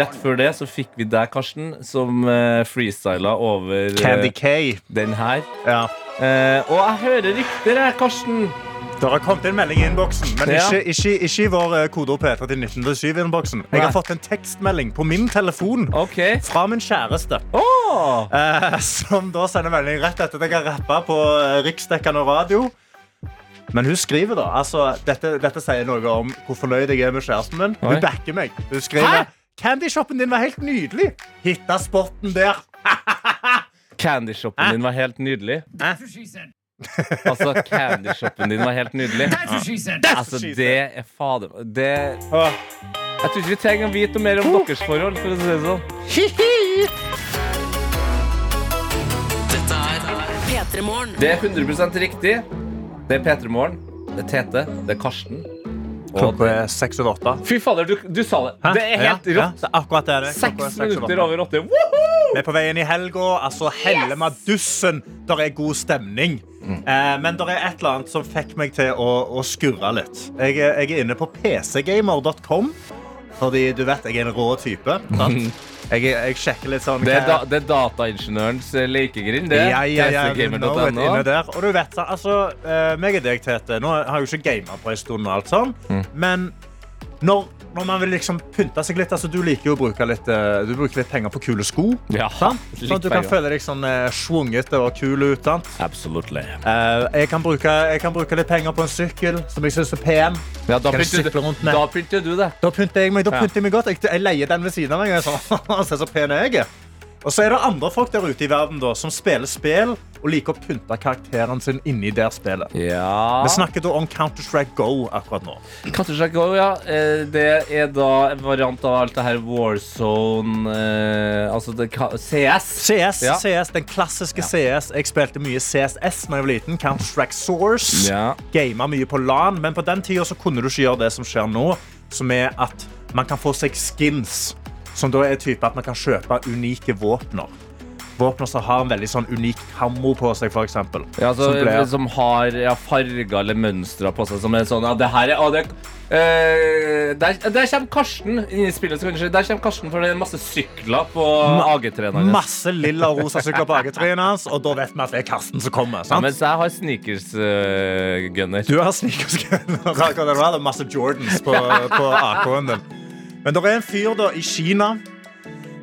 Rett før det så fikk vi deg, Karsten, som uh, freestyla over eh,
Candy K.
den her.
Ja.
Eh, og jeg hører rykter her, Karsten.
Det har kommet en melding i innboksen, men
Ja.
ikke, ikke, ikke i vår eh, kode og P3 til 1907-innboksen. Jeg
Nei.
har fått en tekstmelding på min telefon
OK.
fra min kjæreste.
Åh!
eh, som da sender melding rett etter at jeg har rappa på eh, riksdekkende radio. Men hun skriver, da. Altså, dette, dette sier noe om hvor fornøyd jeg er med kjæresten min.
Oi.
Hun backer meg. Hun skriver
Hæ?
Candyshoppen din var helt nydelig. Hitta spotten der.
Candyshoppen din var helt nydelig. Altså, candyshoppen din var helt nydelig.
That's
Altså,
what she
det er fader... Det
Åh,
Jeg tror ikke vi trenger å vite noe mer om deres forhold, for å si det sånn.
P3 Morgen.
Det er 100 riktig. Det er P3 Morgen. Det er Tete. Det er Karsten. Og
Klokka er seks over åtte.
Fy fader, du, du sa det.
Hæ?
Det er helt
Ja, ja,
rått.
det er akkurat det det. er. Klokka er
Seks
seks over
minutter
åtte.
over åtte. Woohoo!
Vi er på vei inn i helga. Altså, hele madussen. Der er god stemning.
Mm.
Eh, men det er et eller annet som fikk meg til å, å skurre litt. Jeg, er- jeg er inne på pcgamer.com, fordi du vet jeg er en rå type. Sant? Jeg, jeg sjekker litt sånn
Mm. Det er, da,
hva-
det er dataingeniørens eh, lekegrind. Det
ja, ja, ja, du
Testgamer.no.
know it inne der. Og du vet, altså, eh, meg og deg, Tete, nå har jeg jo ikke gamet på en stund, og alt sånn,
Mm.
men når, når man vil liksom pynte seg litt, altså, du liker jo å bruke litt, eh, du bruker litt penger på kule sko,
Ja,
sant?
litt
Sånn at du kan
penger.
føle deg sånn eh, svungete og kul ut, sant?
Absolutely.
Eh, jeg, kan bruke, jeg kan bruke litt penger på en sykkel, som jeg synes er pen.
Ja, da
Kan du
pynter du,
sykle rundt med?
da pynter du det.
Da pynter jeg meg, da
Ja.
pynter jeg meg godt. Jeg, jeg leier den ved siden av meg. og Jeg er sånn, Se så pen jeg er. Og så er det andre folk der ute i verden da, som spiller spill og liker å pynte karakteren sin inni der spillet.
Ja.
Vi snakker da om Counter-Strike Go akkurat nå.
Counter-Strike Go, ja. Eh, Det er da en variant av alt det her Warzone eh, Altså det, ka- CS.
CS,
Ja.
CS, den klassiske CS. Jeg spilte mye CSS da jeg var liten. Counter-Strike Source.
Ja.
Gama mye på LAN, men på den tida så kunne du ikke gjøre det som skjer nå, som er at man kan få seg skins, som da er type at man kan kjøpe unike våpner. Våpner som har en veldig sånn unik kammo på seg, for eksempel.
Ja, altså,
Som Sånn ble-
som, har ja, farger eller mønstre på seg som er sånn Ja, det her er å, det, eh, der, der kommer Karsten inn i spillet. så kanskje- Der kommer Karsten for det er masse sykler på AG-treneren. hans.
Masse lilla og rosa sykler på AG-trynet hans, og da vet vi at det er Karsten som kommer.
Ja,
sant?
mens jeg har eh, sneakers-gunner.
Du har sneakersgunner og masse Jordans på, på AK-en din. Men det er en fyr da i Kina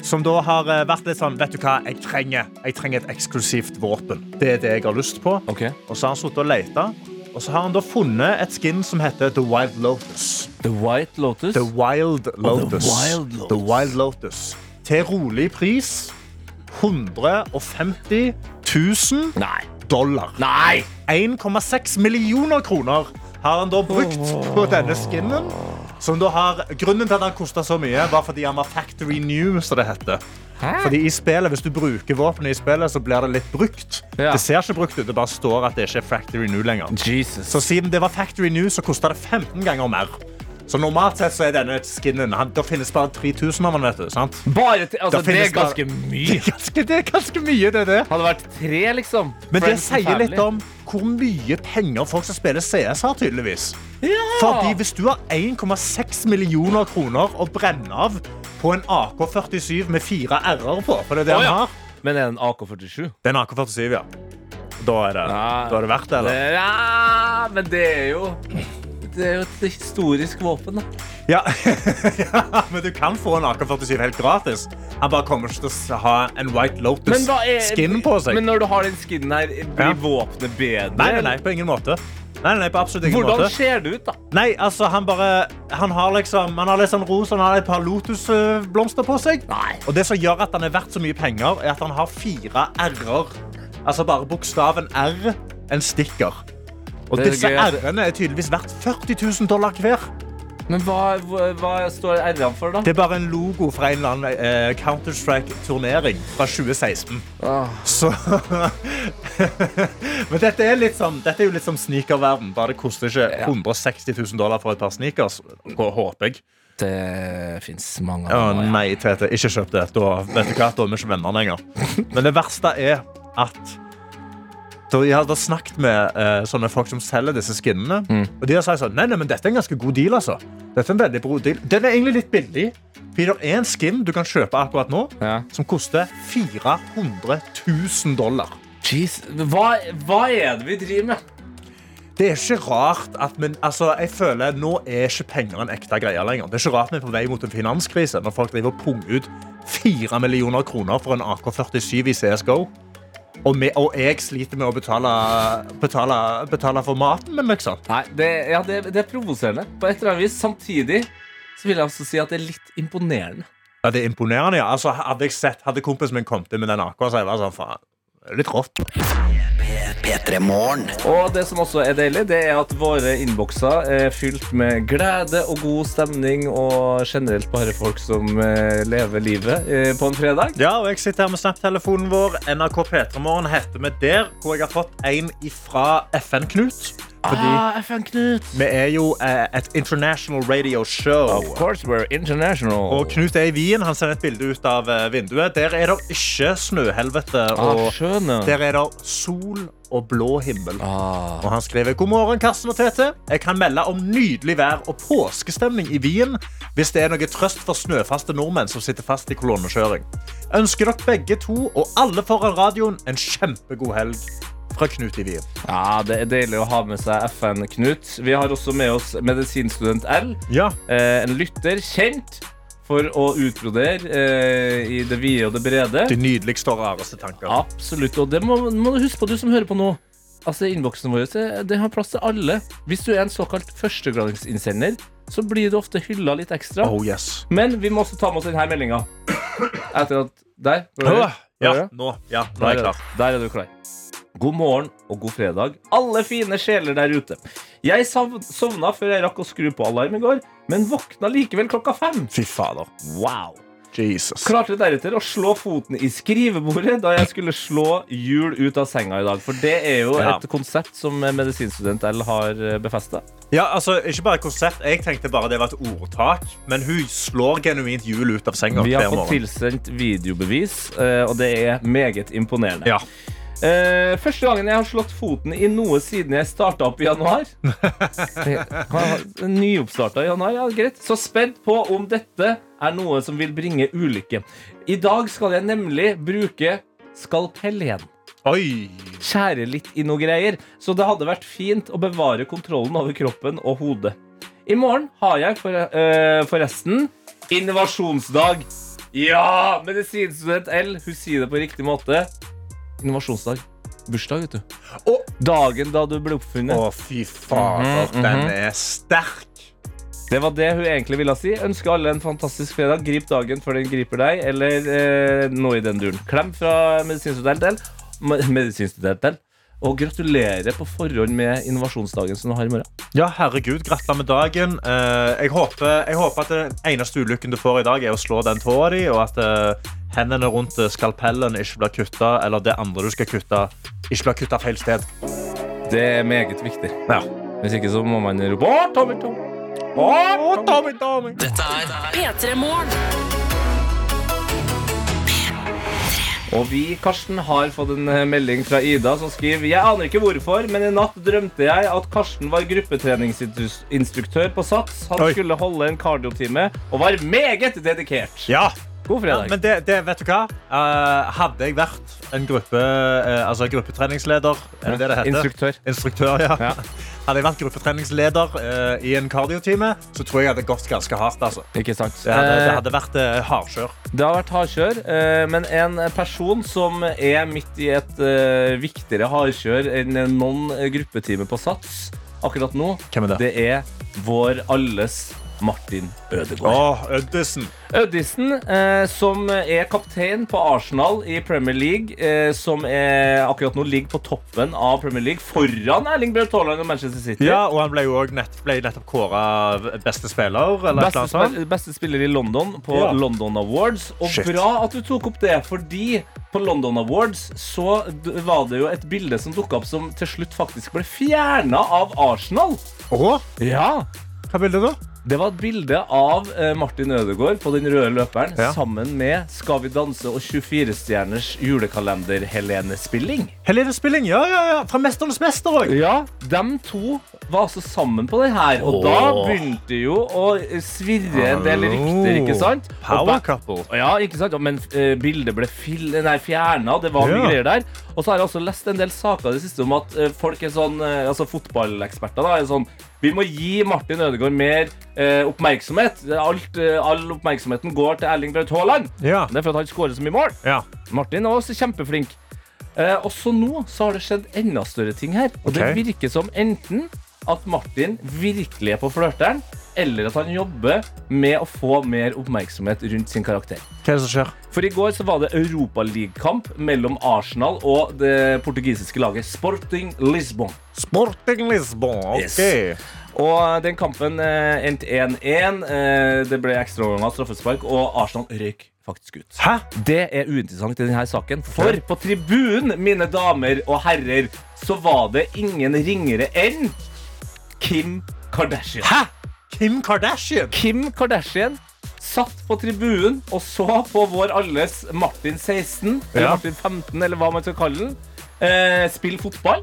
som da har eh, vært litt sånn Vet du hva, jeg trenger, jeg trenger et eksklusivt våpen. Det er det jeg har lyst på.
Ok.
Og så har han sittet og leta, og så har han da funnet et skin som heter The Wild Lotus.
The White Lotus.
The Wild Lotus.
Oh, Wild Lotus.
The Wild Lotus. Til rolig pris 150 000
Nei.
dollar.
Nei!
1,6 millioner kroner har han da brukt på denne skinnen. Som da har, grunnen til at han kosta så mye, var fordi han var Factory New, som det heter. Fordi i spillet, Hvis du bruker våpenet i spillet, så blir det litt brukt.
Ja.
Det ser ikke brukt ut, det bare står at det ikke er Factory New lenger.
Jesus.
Så siden det var Factory New, så kosta det 15 ganger mer. Så normalt sett så er denne skinnen han, Det finnes bare 3000 av den, vet du. sant?
Bare til, altså,
Da
det
finnes
er ganske
bare-
mye.
Det er ganske, det er ganske mye, det er det.
Hadde vært tre, liksom.
Men det
Friends and
sier litt
family.
om hvor mye penger folk som spiller CS har, tydeligvis. Fordi hvis du har 1,6 millioner kroner å brenne av på en AK-47 med fire R-er på, for det er det
Å,
han
ja.
har.
Men er det en AK-47?
Det er en AK-47, ja. Da er det,
Nei.
da er det verdt det, eller?
Ja, men det er jo Det er jo et historisk våpen, da.
Ja. ja, men du kan få en AK-47 helt gratis. Han bare kommer ikke til å ha en White Lotus-skin på seg.
Men når du har den skinnen her, blir
Ja.
våpenet bedre?
Nei, nei, nei, på ingen måte. Nei, nei, på absolutt ingen
Hvordan
måte.
ser det ut, da?
Nei, altså, han bare Han har liksom Han har litt sånn rosa, han har et par lotusblomster på seg.
Nei.
Og det som gjør at han er verdt så mye penger, er at han har fire r-er. Altså bare bokstaven r, en stikker. Og
Det er
disse
gøy at-
r-ene er tydeligvis verdt 40 000 dollar hver.
Men hva, hva, hva står R-ene for, da?
Det er bare en logo fra en eller annen eh, Counter-Strike-turnering fra 2016.
Ah.
Så Men dette er, litt sånn, dette er jo litt som sneakerverden. Bare det koster ikke 160 000 dollar for et par sneakers. Håper jeg.
Det fins mange
Å nei, Tete, ikke kjøp det. Da, vet du hva, da er vi ikke venner lenger. Men det verste er at da jeg hadde snakket med eh, sånne folk som selger disse skinnene. Og de har sagt sånn, nei, nei, men dette er en ganske god deal. altså. Dette er en veldig bra deal. Den er egentlig litt billig. Fordi det er en skin du kan kjøpe akkurat nå,
Ja.
som koster 400 000 dollar.
Jeez, hva, hva er det vi driver med?
Det er ikke rart at men, altså, jeg føler Nå er ikke penger en ekte greie lenger. Det er ikke rart vi er på vei mot en finanskrise når folk driver og punger ut 4 millioner kroner for en AK-47 i CSGO. Og, vi, og jeg sliter med å betale, betale, betale for maten min, liksom.
Nei, det, ja, det, det er provoserende. På et eller annet vis. Samtidig så vil jeg også si at det er litt imponerende.
Ja, det er imponerende. ja. Altså, hadde jeg sett, hadde kompisen min kommet inn med den AK, så hadde jeg vært sånn, faen, det er litt rått.
Og det som også er deilig, det er at våre innbokser er fylt med glede og god stemning, og generelt bare folk som eh, lever livet eh, på en fredag.
Ja, og jeg sitter her med Snap-telefonen vår. NRK P3morgen heter vi der, hvor jeg har fått en ifra FN-Knut. Fordi vi er jo eh, et international radio show.
course we're international.
Og Knut er i Wien. Han sender et bilde ut av eh, vinduet. Der er det ikke snøhelvete.
ah,
Og
skjønne.
der er det sol og blå himmel.
Ah.
Og han skriver God morgen, Karsten og Tete. Jeg kan melde om nydelig vær og påskestemning i Wien hvis det er noe trøst for snøfaste nordmenn som sitter fast i kolonnekjøring. Ønsker dere begge to og alle foran radioen en kjempegod helg. Fra Knut i Wien.
Ja, det er deilig å ha med seg FN-Knut. Vi har også med oss medisinstudent L, eh, en lytter kjent for å utbrodere eh, i det vide og det brede.
De nydeligste og rareste tanker.
Absolutt, og det må, må du huske på, du som hører på nå. Altså, Innboksen vår det- det har plass til alle. Hvis du er en såkalt førstegradingsinnsender, så blir du ofte hylla litt ekstra.
Oh, yes.
Men vi må også ta med oss denne meldinga. Etter at Der. hører du?
Ja, nå, ja, nå er jeg
Der
klar.
Der er du klar. God morgen og god fredag, alle fine sjeler der ute. Jeg sav- sovna før jeg rakk å skru på alarm i går, men våkna likevel klokka fem.
Fy fader.
Wow.
Jesus.
Klarte deretter å slå foten i skrivebordet da jeg skulle slå hjul ut av senga i dag. For det er jo
Ja.
et konsept som medisinstudent L har eh, befesta.
Ja, altså, ikke bare konsept. Jeg tenkte bare det var et ordtak. Men hun slår genuint hjul ut av senga
Vi har
hver
fått
morgen.
tilsendt videobevis, eh, og det er meget imponerende.
Ja.
Eh, første gangen jeg har slått foten i noe siden jeg starta opp i januar. Nyoppstarta i januar, ja greit. Så spent på om dette er noe som vil bringe ulykke. I dag skal jeg nemlig bruke skalpell igjen.
Oi.
Skjære litt i noe greier. Så det hadde vært fint å bevare kontrollen over kroppen og hodet. I morgen har jeg for, eh, forresten innovasjonsdag. Ja! Medisinstudent L, hun sier det på riktig måte. Innovasjonsdag. Bursdag, vet du.
Å.
Dagen da du ble oppfunnet.
Å, fy fader.
Mhm,
Den er sterk.
Det var det hun egentlig ville si. Ønsker alle en fantastisk fredag. Grip dagen før den griper deg, eller eh, noe i den duren. Klem fra medisinstudent L. Me- Medisinstudent L. Og gratulerer på forhånd med innovasjonsdagen som du har i morgen.
Ja, herregud, gratulerer med dagen. Eh, jeg, håper, jeg håper at den eneste ulykken du får i dag, er å slå den tåa di, og at eh, hendene rundt eh, skalpellen ikke blir kutta, eller det andre du skal kutte, ikke blir kutta feil sted.
Det er meget viktig.
Ja.
Hvis ikke så må man rope Å, Tommy, Tommy! Å, Tommy, Tommy!
P3 Morgen.
Og vi, Karsten, har fått en eh, melding fra Ida som skriver Jeg aner ikke hvorfor, men i natt drømte jeg at Karsten var gruppetreningsinstruktør på SATS. Han
Oi.
skulle holde en kardiotime og var meget dedikert.
ja.
God fredag.
Men det, det, vet du hva? Eh, hadde jeg vært en gruppe, eh, altså gruppetreningsleder, er det det det heter?
Instruktør.
Instruktør, ja.
Ja.
Hadde jeg vært gruppetreningsleder eh, i en kardiotime, så tror jeg jeg hadde gått ganske hardt. Altså.
Ikke sant.
Det, hadde, det
Eh,
hadde vært eh, hardkjør.
Det har vært hardkjør, eh, men en person som er midt i et eh, viktigere hardkjør enn noen gruppetime på Sats akkurat nå,
Hvem er det?
det er vår alles Martin Ødegaard.
Åh, Øddisen.
Ødisen, eh, som er kaptein på Arsenal i Premier League, eh, som er, akkurat nå ligger på toppen av Premier League foran Erling Braut Haaland og Manchester City.
Ja, og han ble jo også nett, ble nettopp kåra beste spiller. Eller
Beste,
beste sånt.
spill- beste spiller i London på
Ja.
London Awards. Og
Shit.
bra at du tok opp det, fordi på London Awards så d- var det jo et bilde som dukka opp som til slutt faktisk ble fjerna av Arsenal.
Åh,
Ja
hva vil du da?
Det var et bilde av eh, Martin Ødegaard på den røde løperen
Ja.
sammen med Skal vi danse og 24-stjerners julekalender-Helene Spilling.
Helene Spilling, ja, ja, ja. Fra Mesternes mester òg.
Ja, de to var altså sammen på den her, og da begynte jo å svirre en del rykter, ikke sant? Og
Power
ba-
couple.
Ja, ikke sant? Men eh, bildet ble fil- nei, fjerna, det var mye
Ja.
greier der. Og så har jeg også lest en del saker i det siste om at eh, folk er sånn, eh, altså fotballeksperter da, er sånn Vi må gi Martin Ødegaard mer eh, oppmerksomhet. Alt, eh, all oppmerksomheten går til Erling Braut Haaland.
Ja.
Det er for at han skårer så mye mål.
ja.
Martin er også kjempeflink. Eh, også nå så har det skjedd enda større ting her. Og
Ok.
det virker som enten at Martin virkelig er på flørteren, eller at han jobber med å få mer oppmerksomhet rundt sin karakter.
Hva er det som skjer?
For i går så var det Europaligakamp mellom Arsenal og det portugisiske laget Sporting Lisbon.
Sporting Lisbon. OK.
Yes. Og den kampen eh, endte 1-1. Eh, det ble ekstraomganger, straffespark, og Arsenal røyk faktisk ut.
Hæ?
Det er uinteressant i denne saken, for på tribunen, mine damer og herrer, så var det ingen ringere enn Kim Kardashian.
Hæ? Kim Kardashian?
Kim Kardashian satt på tribunen og så på vår alles Martin 16, eller
Ja.
Martin 15, eller hva man skal kalle den, eh, spille fotball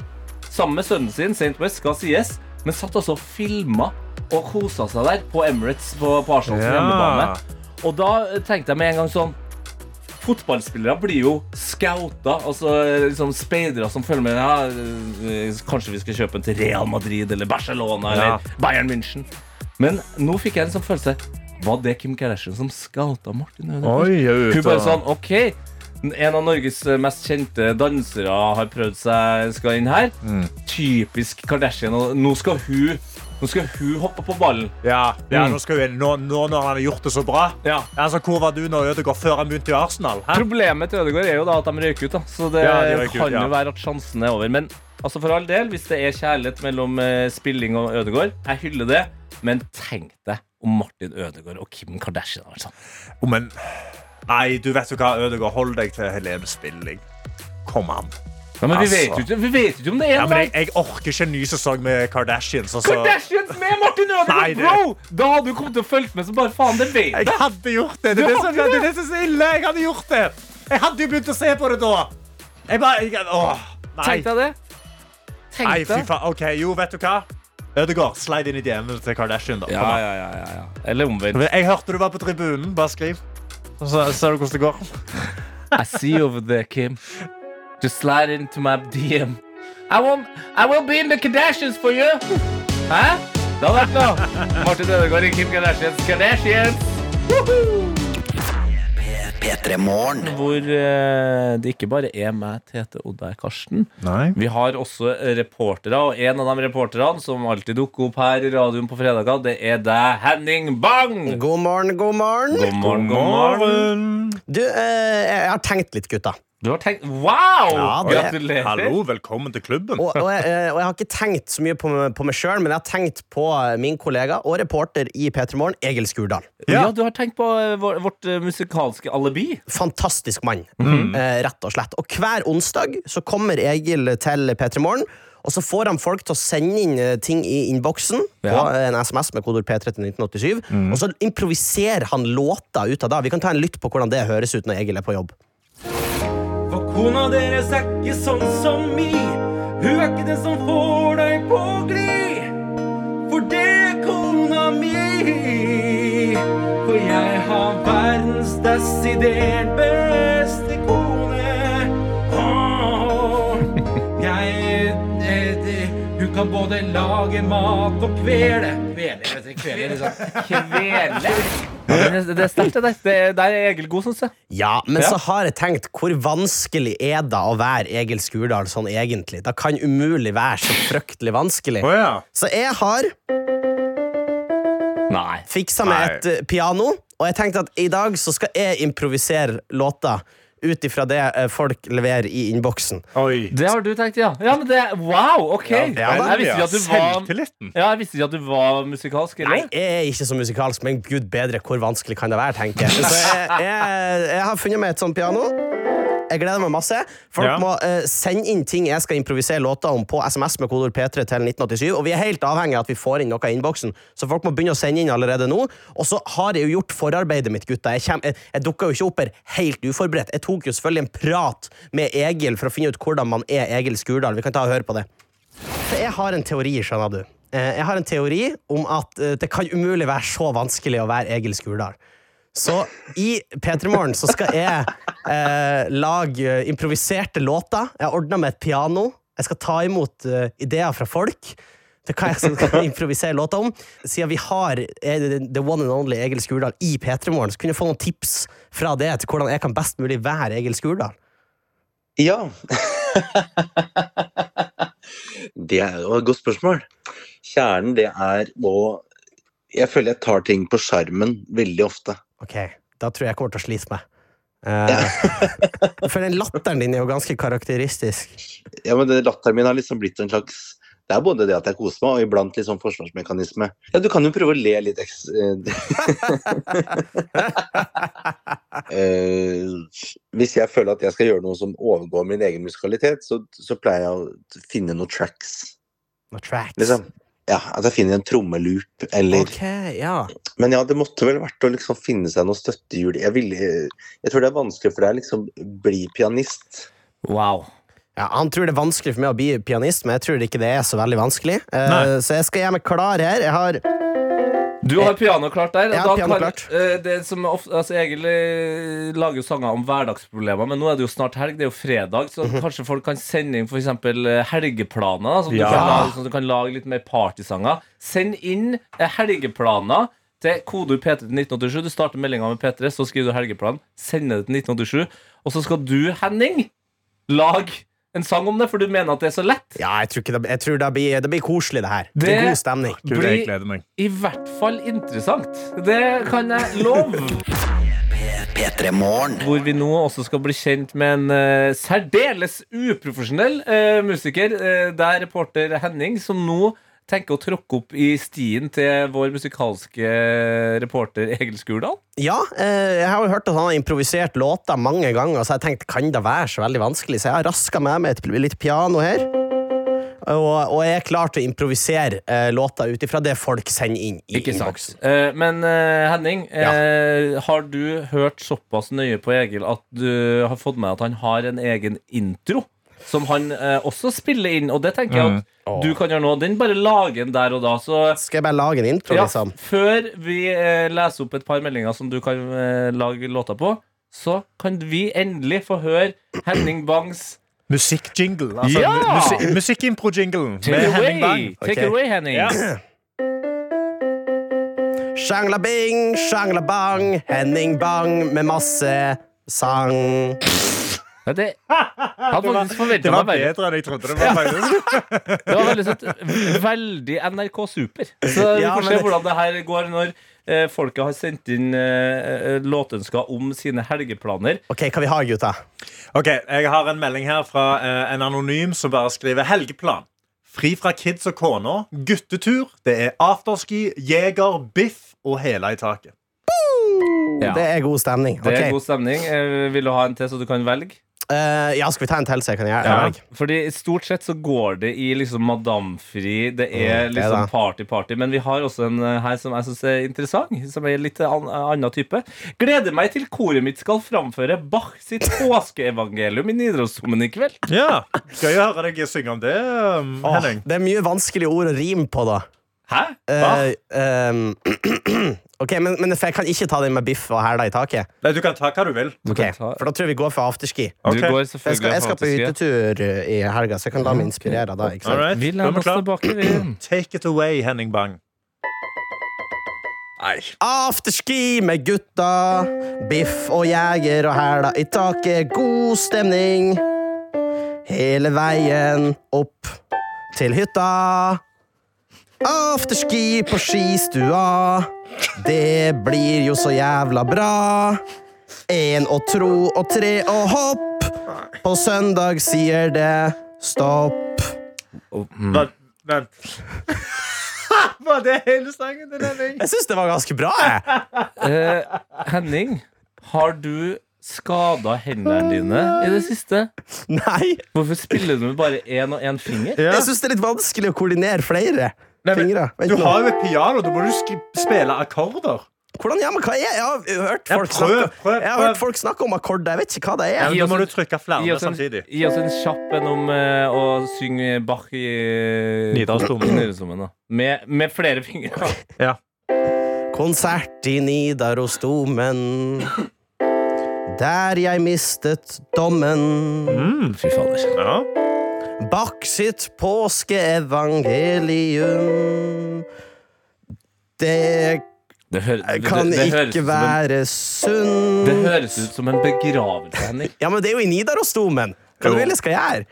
sammen med sønnen sin, St. West, skal sies, men satt altså og filma og kosa seg der på Emirates på, på Arsenals
Ja.
hjemmebane. Og da tenkte jeg med en gang sånn Fotballspillere blir jo scouta, altså liksom speidere som følger med. Ja, eh, kanskje vi skal kjøpe en til Real Madrid eller Barcelona
Ja.
eller Bayern München. Men nå fikk jeg en sånn følelse. Var det Kim Kardashian som scouta Martin Ødegaard?
Oi, jeg er ute.
Hun bare sånn, ok En av Norges mest kjente dansere har prøvd seg Skal inn her Typisk Kardashian og Nå skal hun Nå skal hun hoppe på ballen
Ja, ja
Mm.
nå, skal vi, nå, nå når han har gjort det så bra.
Ja.
Altså, Hvor var du når Ødegaard før han begynte i Arsenal? Hæ?
Problemet til Ødegaard er jo da at de røyker ut da. Så det
Ja, de røyker ut,
kan
ja.
jo være at sjansen er over Men altså for all del Hvis det er kjærlighet mellom eh, spilling og Ødegaard Jeg hyller det Men tenk deg om Martin Ødegaard og Kim Kardashian altså. har vært sammen.
Oh, men Nei, du vet jo hva, Ødegaard. Hold deg til Helene Spilling. Kom an.
ja, men vi,
Altså.
vet jo ikke, vi vet jo ikke om det er
Ja,
en
men jeg, jeg orker ikke en ny sesong med Kardashians. Altså.
Kardashians med Martin
Nei,
Ødegaard,
det-
bro! Da hadde du kommet til å følge med som bare faen. Det vet
Jeg
jeg.
hadde gjort det. Det er det som det er det som er så ille. Jeg hadde gjort det. Jeg hadde jo begynt å se på det da. Jeg bare, jeg, åh, nei.
Tenk deg det. Tenk
nei, fy
deg.
faen. OK, jo, vet du hva? Ødegaard, slide inn i dm til Kardashian, da.
Ja,
Kom an.
ja, ja, ja, ja. Eller omvendt.
Jeg hørte du var på tribunen. Bare skriv. Og Så ser du hvordan det går.
I see you over there, Kim. Just slide into my DM. I, won't, I will be in the Kardashians for you. Hæ? Det hadde vært noe. Martin Ødegaard i Kim Kardashians. Kardashians. P3 Hvor eh, det ikke bare er meg, Tete, Odda og Karsten.
Nei.
Vi har også reportere, og en av de reporterne som alltid dukker opp her i radioen på fredager, det er deg, Henning Bang!
God morgen, god morgen.
God morgen, god morgen.
Du, eh, jeg har tenkt litt, gutta.
Du har tenkt Wow!
Ja, det-
Gratulerer.
Hallo, velkommen til klubben.
Og, og, jeg, eh, og jeg har ikke tenkt så mye på, på meg sjøl, men jeg har tenkt på eh, min kollega og reporter i P3 Morgen, Egil Skurdal.
Ja. du har tenkt på eh, vår- vårt eh, musikalske alibi.
Fantastisk mann, eh, rett og slett. Og hver onsdag så kommer Egil til P3 Morgen. Og så får han folk til å sende inn eh, ting i innboksen på
Ja.
eh, en SMS med kodord P3 til 1987. Og så improviserer han låter ut av det. Vi kan ta en lytt på hvordan det høres ut når Egil er på jobb.
For kona deres er ikke sånn som mi. Hun er ikke den som får deg på gli. For det er kona mi. For jeg har verdens desidert beste kone. Åh, Jeg eh, det- Hun kan både lage mat og kvele. Kvele, jeg vet ikke, kvele liksom. Kvele. Det er sterkt, det der. Det, der er Egil god, syns jeg.
Ja, men
Ja.
så har jeg tenkt hvor vanskelig er det å være Egil Skurdal sånn egentlig? Det kan umulig være så fryktelig vanskelig.
Å ja.
Så jeg har
Nei.
fiksa meg
Nei.
et eh, piano, og jeg tenkte at i dag så skal jeg improvisere låter ut ifra det eh, folk leverer i innboksen.
Oi.
Det har du tenkt, ja. ja men det, wow, ok.
Ja,
jeg, visste ikke at du var,
Selvtilliten.
ja, jeg visste ikke at du var musikalsk. Eller?
Nei, jeg er ikke så musikalsk, men gud bedre, hvor vanskelig kan det være, tenker jeg. Så jeg, jeg, jeg har funnet meg et sånt piano. Jeg gleder meg masse. Folk
Ja.
må eh, sende inn ting jeg skal improvisere låter om på SMS med kodord P3 til 1987. Og vi er helt avhengig av at vi får inn noe i innboksen, så folk må begynne å sende inn allerede nå. Og så har jeg jo gjort forarbeidet mitt, gutta. Jeg, kjem, jeg, jeg dukka jo ikke opp her helt uforberedt. Jeg tok jo selvfølgelig en prat med Egil for å finne ut hvordan man er Egil Skurdal. Vi kan ta og høre på det. For Jeg har en teori, skjønner du. Eh, Jeg har en teori om at eh, det kan umulig være så vanskelig å være Egil Skurdal. Så i P3 Morgen så skal jeg eh, lage eh, improviserte låter. Jeg har ordna med et piano. Jeg skal ta imot eh, ideer fra folk. Det kan jeg skal improvisere låter om. Siden vi har eh, the one and only Egil Skurdal i P3 Morgen, så kunne jeg få noen tips fra det til hvordan jeg kan best mulig være Egil Skurdal.
Ja. det er jo et godt spørsmål. Kjernen det er å Jeg føler jeg tar ting på skjermen veldig ofte.
Ok, da tror jeg jeg kommer til å slite meg. Eh, for den latteren din er jo ganske karakteristisk.
Ja, men det Latteren min har liksom blitt en slags Det er både det at jeg koser meg, og iblant litt sånn forsvarsmekanisme. Ja, du kan jo prøve å le litt ekstra Eh, Hvis jeg føler at jeg skal gjøre noe som overgår min egen musikalitet, så, så pleier jeg å finne noen tracks.
Noe tracks.
Liksom. Ja, At jeg finner en trommeloop eller
Ok, ja.
Men ja, det måtte vel vært å liksom finne seg noe støttehjul. Jeg, ville, jeg tror det er vanskelig for deg å liksom bli pianist.
Wow.
Ja, han tror det er vanskelig for meg å bli pianist, men jeg tror ikke det er så veldig vanskelig. Eh,
Nei.
så jeg skal gjøre meg klar her. Jeg har
Du har piano klart der.
Eh, Jeg har
Da
piano
kan-
klart.
eh, det som ofte, altså Egil eh, lager jo sanger om hverdagsproblemer, men nå er det jo snart helg. Det er jo fredag, så
Mhm.
kanskje folk kan sende inn f.eks. helgeplaner. da, Som du,
Ja.
kan lage, sånn at du kan lage litt mer partysanger. Send inn eh, helgeplaner til kodeord P3 til 1987. Du starter meldinga med P3, så skriver du helgeplan, sender det til 1987, og så skal du, Henning, lage en sang om det, for du mener at det er så lett.
Ja, jeg tror, ikke det, jeg tror det, blir, det blir koselig, det her. Det, blir
Det-
god stemning.
Gud, jeg gleder meg.
I hvert fall interessant. Det kan jeg love. Hvor vi nå også skal bli kjent med en eh, særdeles uprofesjonell eh, musiker. eh, det er reporter Henning som nå tenker å tråkke opp i stien til vår musikalske reporter Egil Skurdal.
Ja, eh, jeg har jo hørt at han har improvisert låter mange ganger, så jeg tenkte, kan det være så veldig vanskelig? Så jeg har raska med meg et, litt piano her. Og, og jeg er klar til å improvisere eh, låter ut ifra det folk sender inn i
Ikke sant.
innboksen.
Eh, men eh, Henning, eh, har du hørt såpass nøye på Egil at du har fått med at han har en egen intro? Som han eh, også spiller inn, og det tenker jeg at du kan gjøre nå. Den bare lager den der og da. Så
Skal jeg bare lage en intro,
ja,
liksom?
før vi eh, leser opp et par meldinger som du kan eh, lage låter på, så kan vi endelig få høre Henning Bangs
Musikkjingle. Altså,
Ja!
mu- musi- Musikkimpro-jinglen
Take
med
it
Henning
away,
Bang.
Take it away, Henning.
Sjangla bing, sjangla bang, Henning Bang med masse sang.
Ja, det, jeg hadde faktisk
Det
forventet
var
meg verre.
bedre enn jeg trodde det var. faktisk
Det var veldig søtt. Veldig NRK Super. Så vi
Ja,
får
men
se
det-
hvordan det her går når eh, folket har sendt inn eh, eh, låtønsker om sine helgeplaner.
Ok, hva vi har, gutta?
Ok, Jeg har en melding her fra eh, en anonym som bare skriver helgeplan. Fri fra kids og kona, guttetur, det er afterski, jeger, biff og hæla i taket.
Ja.
Det er god stemning.
Det er
Ok.
god stemning. Eh, vil du ha en til, så du kan velge?
Eh, ja, skal vi ta en til, så jeg kan gjøre
Ja.
det?
Fordi stort sett så går det i liksom madamfri, det
Mm,
er
det da.
liksom party-party. Men vi har også en eh, her som jeg syns er interessant, som er litt eh, an annen type. Gleder meg til koret mitt skal framføre Bach sitt påskeevangelium i Nidarosdomen i kveld.
Ja, Gøy å høre deg synge om det, um,
Åh,
Henning.
det er mye vanskelige ord å rime på, da.
Hæ?
Eh, ehm, ok, men, men for jeg kan ikke ta den med biff og hæla i taket.
Nei, Du kan ta hva du vil.
Du
Ok,
kan ta-
For da tror jeg vi går for afterski.
Du
Ok.
går
Jeg skal,
selvfølgelig
jeg skal på
faktisk-
hyttetur eh, i helga, så jeg kan la
Mhm.
meg inspirere da. Ikke
All
sant?
right.
Vi
da
lener
er vi
oss
klar.
tilbake, vi.
Take it away, Henning Bang.
Afterski med gutta, biff og jeger og hæla i taket. God stemning hele veien opp til hytta. Afterski på skistua, det blir jo så jævla bra. Én og tro og tre og hopp. På søndag sier det stopp.
Vent. vent. Var det hele sangen til Henning?
Jeg syns det var ganske bra. jeg.
Eh, Henning, har du skada hendene dine i det siste?
Nei,
Hvorfor spiller du med bare én og én finger?
Ja.
jeg syns det er litt vanskelig å koordinere flere
Nei, men
fingre. Vent
Du
nå.
har jo et piano. Da må du sk spille akkorder.
Hvordan, ja, men hva er Jeg har hørt
Ja,
folk,
prøv,
snakke,
prøv,
Jeg har
prøv.
hørt folk snakke om akkorder. Jeg vet ikke hva det er.
men
Da
oss
må
en-
du trykke
Gi
flere
oss en,
samtidig.
gi oss en kjapp en om eh, å synge Bach i
Nidarosdomen.
i Nidarosdomen, da. Med, med flere fingre.
Konsert i Nidarosdomen. Der jeg mistet dommen.
Fy fader.
Ja.
Bach sitt påskeevangelium. Det
Det, hø- det,
kan
det, det høres ut
ikke
som en-
være
Det
sunt.
høres ut som en begravelse, Henning.
Ja, men det er jo i Nidarosdomen. Hva
Jo.
du vil jeg skal gjøre?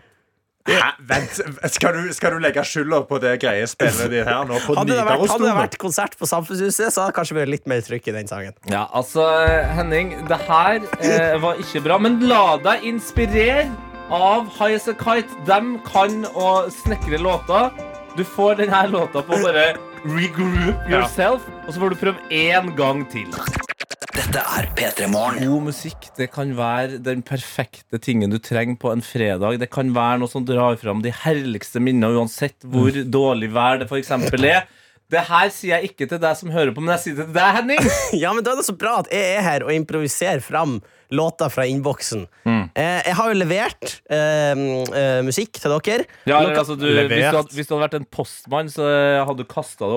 Hæ, vent, skal du, skal du legge skylda på det greie spillet ditt her nå? På
Hadde det vært, hadde det
Nidarosdomen?
vært konsert på Samfunnshuset, så hadde det kanskje vært litt mer trykk i den sangen.
Ja, altså, Henning, det her eh, var ikke bra, men la deg inspirere av High As A Kite. De kan å snekre låter. Du får denne låta på å bare regroup yourself, og så får du prøve én gang til.
Dette er P3 Morgen.
God musikk det kan være den perfekte tingen du trenger på en fredag. Det kan være noe som drar fram de herligste minnene, uansett hvor dårlig vær det f.eks. er. Det her sier jeg ikke til deg som hører på, men jeg sier det til deg, Henning.
Ja, men Da er det så bra at jeg er her og improviserer fram låter fra innboksen.
Mm.
Eh, jeg har jo levert eh, eh, musikk til dere.
Ja,
Noe-
eller, altså, du, hvis, du
Levert.
hadde, hvis du hadde vært en postmann, så eh, hadde du kasta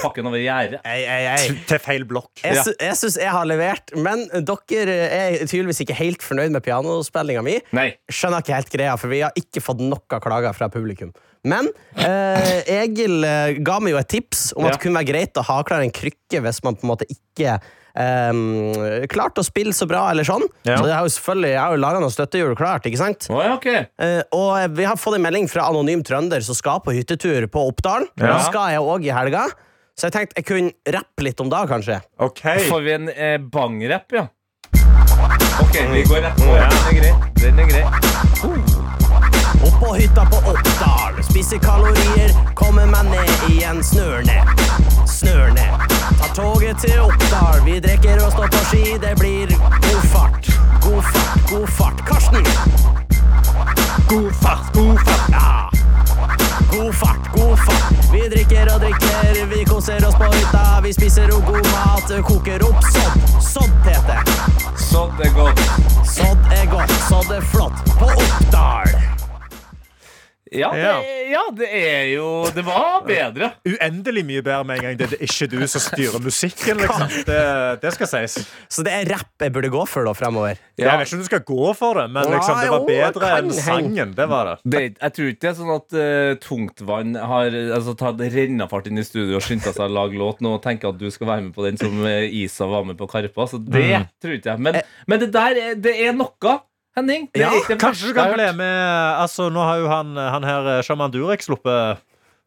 pakken over gjerdet.
Ei, ei, ei.
Til- Til feil blokk.
Jeg, sy jeg syns jeg har levert, men dere er tydeligvis ikke helt fornøyd med pianospillinga mi.
Nei.
Skjønner ikke helt greia, for vi har ikke fått noen klager fra publikum. Men eh, Egil eh, ga meg jo et tips om
Ja.
at det kunne være greit å ha klar en krykke hvis man på en måte ikke eh, klarte å spille så bra, eller sånn.
Ja.
Så det har jo selvfølgelig, jeg har jo laga noen støttehjul klart, ikke sant?
Å ja, ok.
Eh, og vi har fått en melding fra Anonym Trønder som skal på hyttetur på Oppdalen.
Ja.
Det skal jeg òg i helga. Så jeg tenkte jeg kunne rappe litt om det, kanskje.
OK.
Får vi en eh, bang-rapp, ja? OK, vi går rett på. Den er grei. Den er grei.
Opp på hytta på Oppdal, spiser kalorier, kommer meg ned igjen, snør ned, snør ned. Tar toget til Oppdal, vi drikker og står på ski, det blir god fart, god fart, god fart. Karsten! God fart, god fart, ja. God fart, god fart. Vi drikker og drikker, vi koser oss på hytta, vi spiser og god mat, koker opp sodd, sodd heter det.
Så det går.
Sodd er godt, sodd er flott, på Oppdal.
Ja, det, ja, det er jo Det var bedre.
Uendelig mye bedre med en gang det er ikke du som styrer musikken. Liksom. Det, det skal sies.
Så det er rapp jeg burde gå for da fremover.
Jeg vet ikke om du skal gå for det, men liksom, det
Nei, jo,
var
det
bedre
kan
enn
henge.
sangen. Det var det.
Det, er ikke- jeg tror ikke det er sånn at eh, tungtvann har eh, altså, tatt rennafart inn i studio og skynda seg å lage låt nå og tenker at du skal være med på den som eh, Isa var med på Karpa. Så det
Mm.
tror ikke jeg.
Eh.
Men, men det der er, det er noe, Henning. Det
Ja,
er ikke det
Kanskje
verste
du kan
jeg har
bli
hørt.
med Altså, nå har jo han, han her eh, Shaman Durek sluppet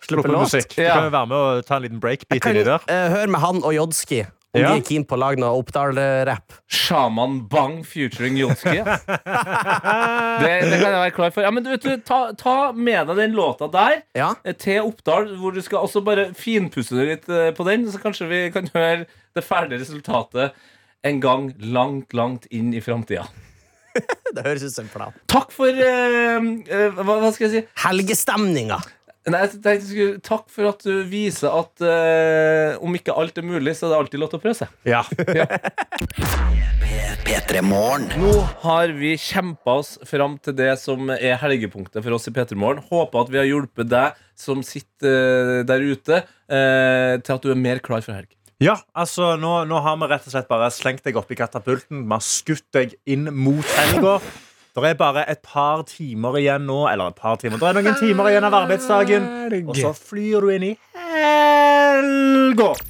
Sluppet
låt.
musikk. Du
Ja.
kan jo være med og ta en liten breakbeat i
Kan,
det der.
eh, hør med han og Jodski om
Ja.
de er keen på å lage noe Oppdal-rapp.
Shaman Bang featuring Jonski. ja. Det, det kan jeg være klar for. Ja, men du vet du, ta, ta med deg den låta der
Ja.
eh, til Oppdal, hvor du skal også bare finpusse det litt eh, på den, så kanskje vi kan høre det ferdige resultatet en gang langt, langt inn i framtida.
Det høres ut som en plan.
Takk for eh, eh, hva, hva skal jeg si?
Helgestemninga.
Nei, jeg tenkte jeg skulle, takk for at du viser at eh, om ikke alt er mulig, så er det alltid lov til å prøve seg.
Ja.
P3 Morgen.
Nå har vi kjempa oss fram til det som er helgepunktet for oss i P3morgen. Håper at vi har hjulpet deg som sitter eh, der ute, eh, til at du er mer klar for helg.
Ja, altså nå, nå har vi rett og slett bare slengt deg opp i katapulten. Vi har skutt deg inn mot helga. Det er bare et par timer igjen nå. Eller et par timer. Det er noen timer igjen av arbeidsdagen. Og så flyr du inn i helga.
P3 Morgen.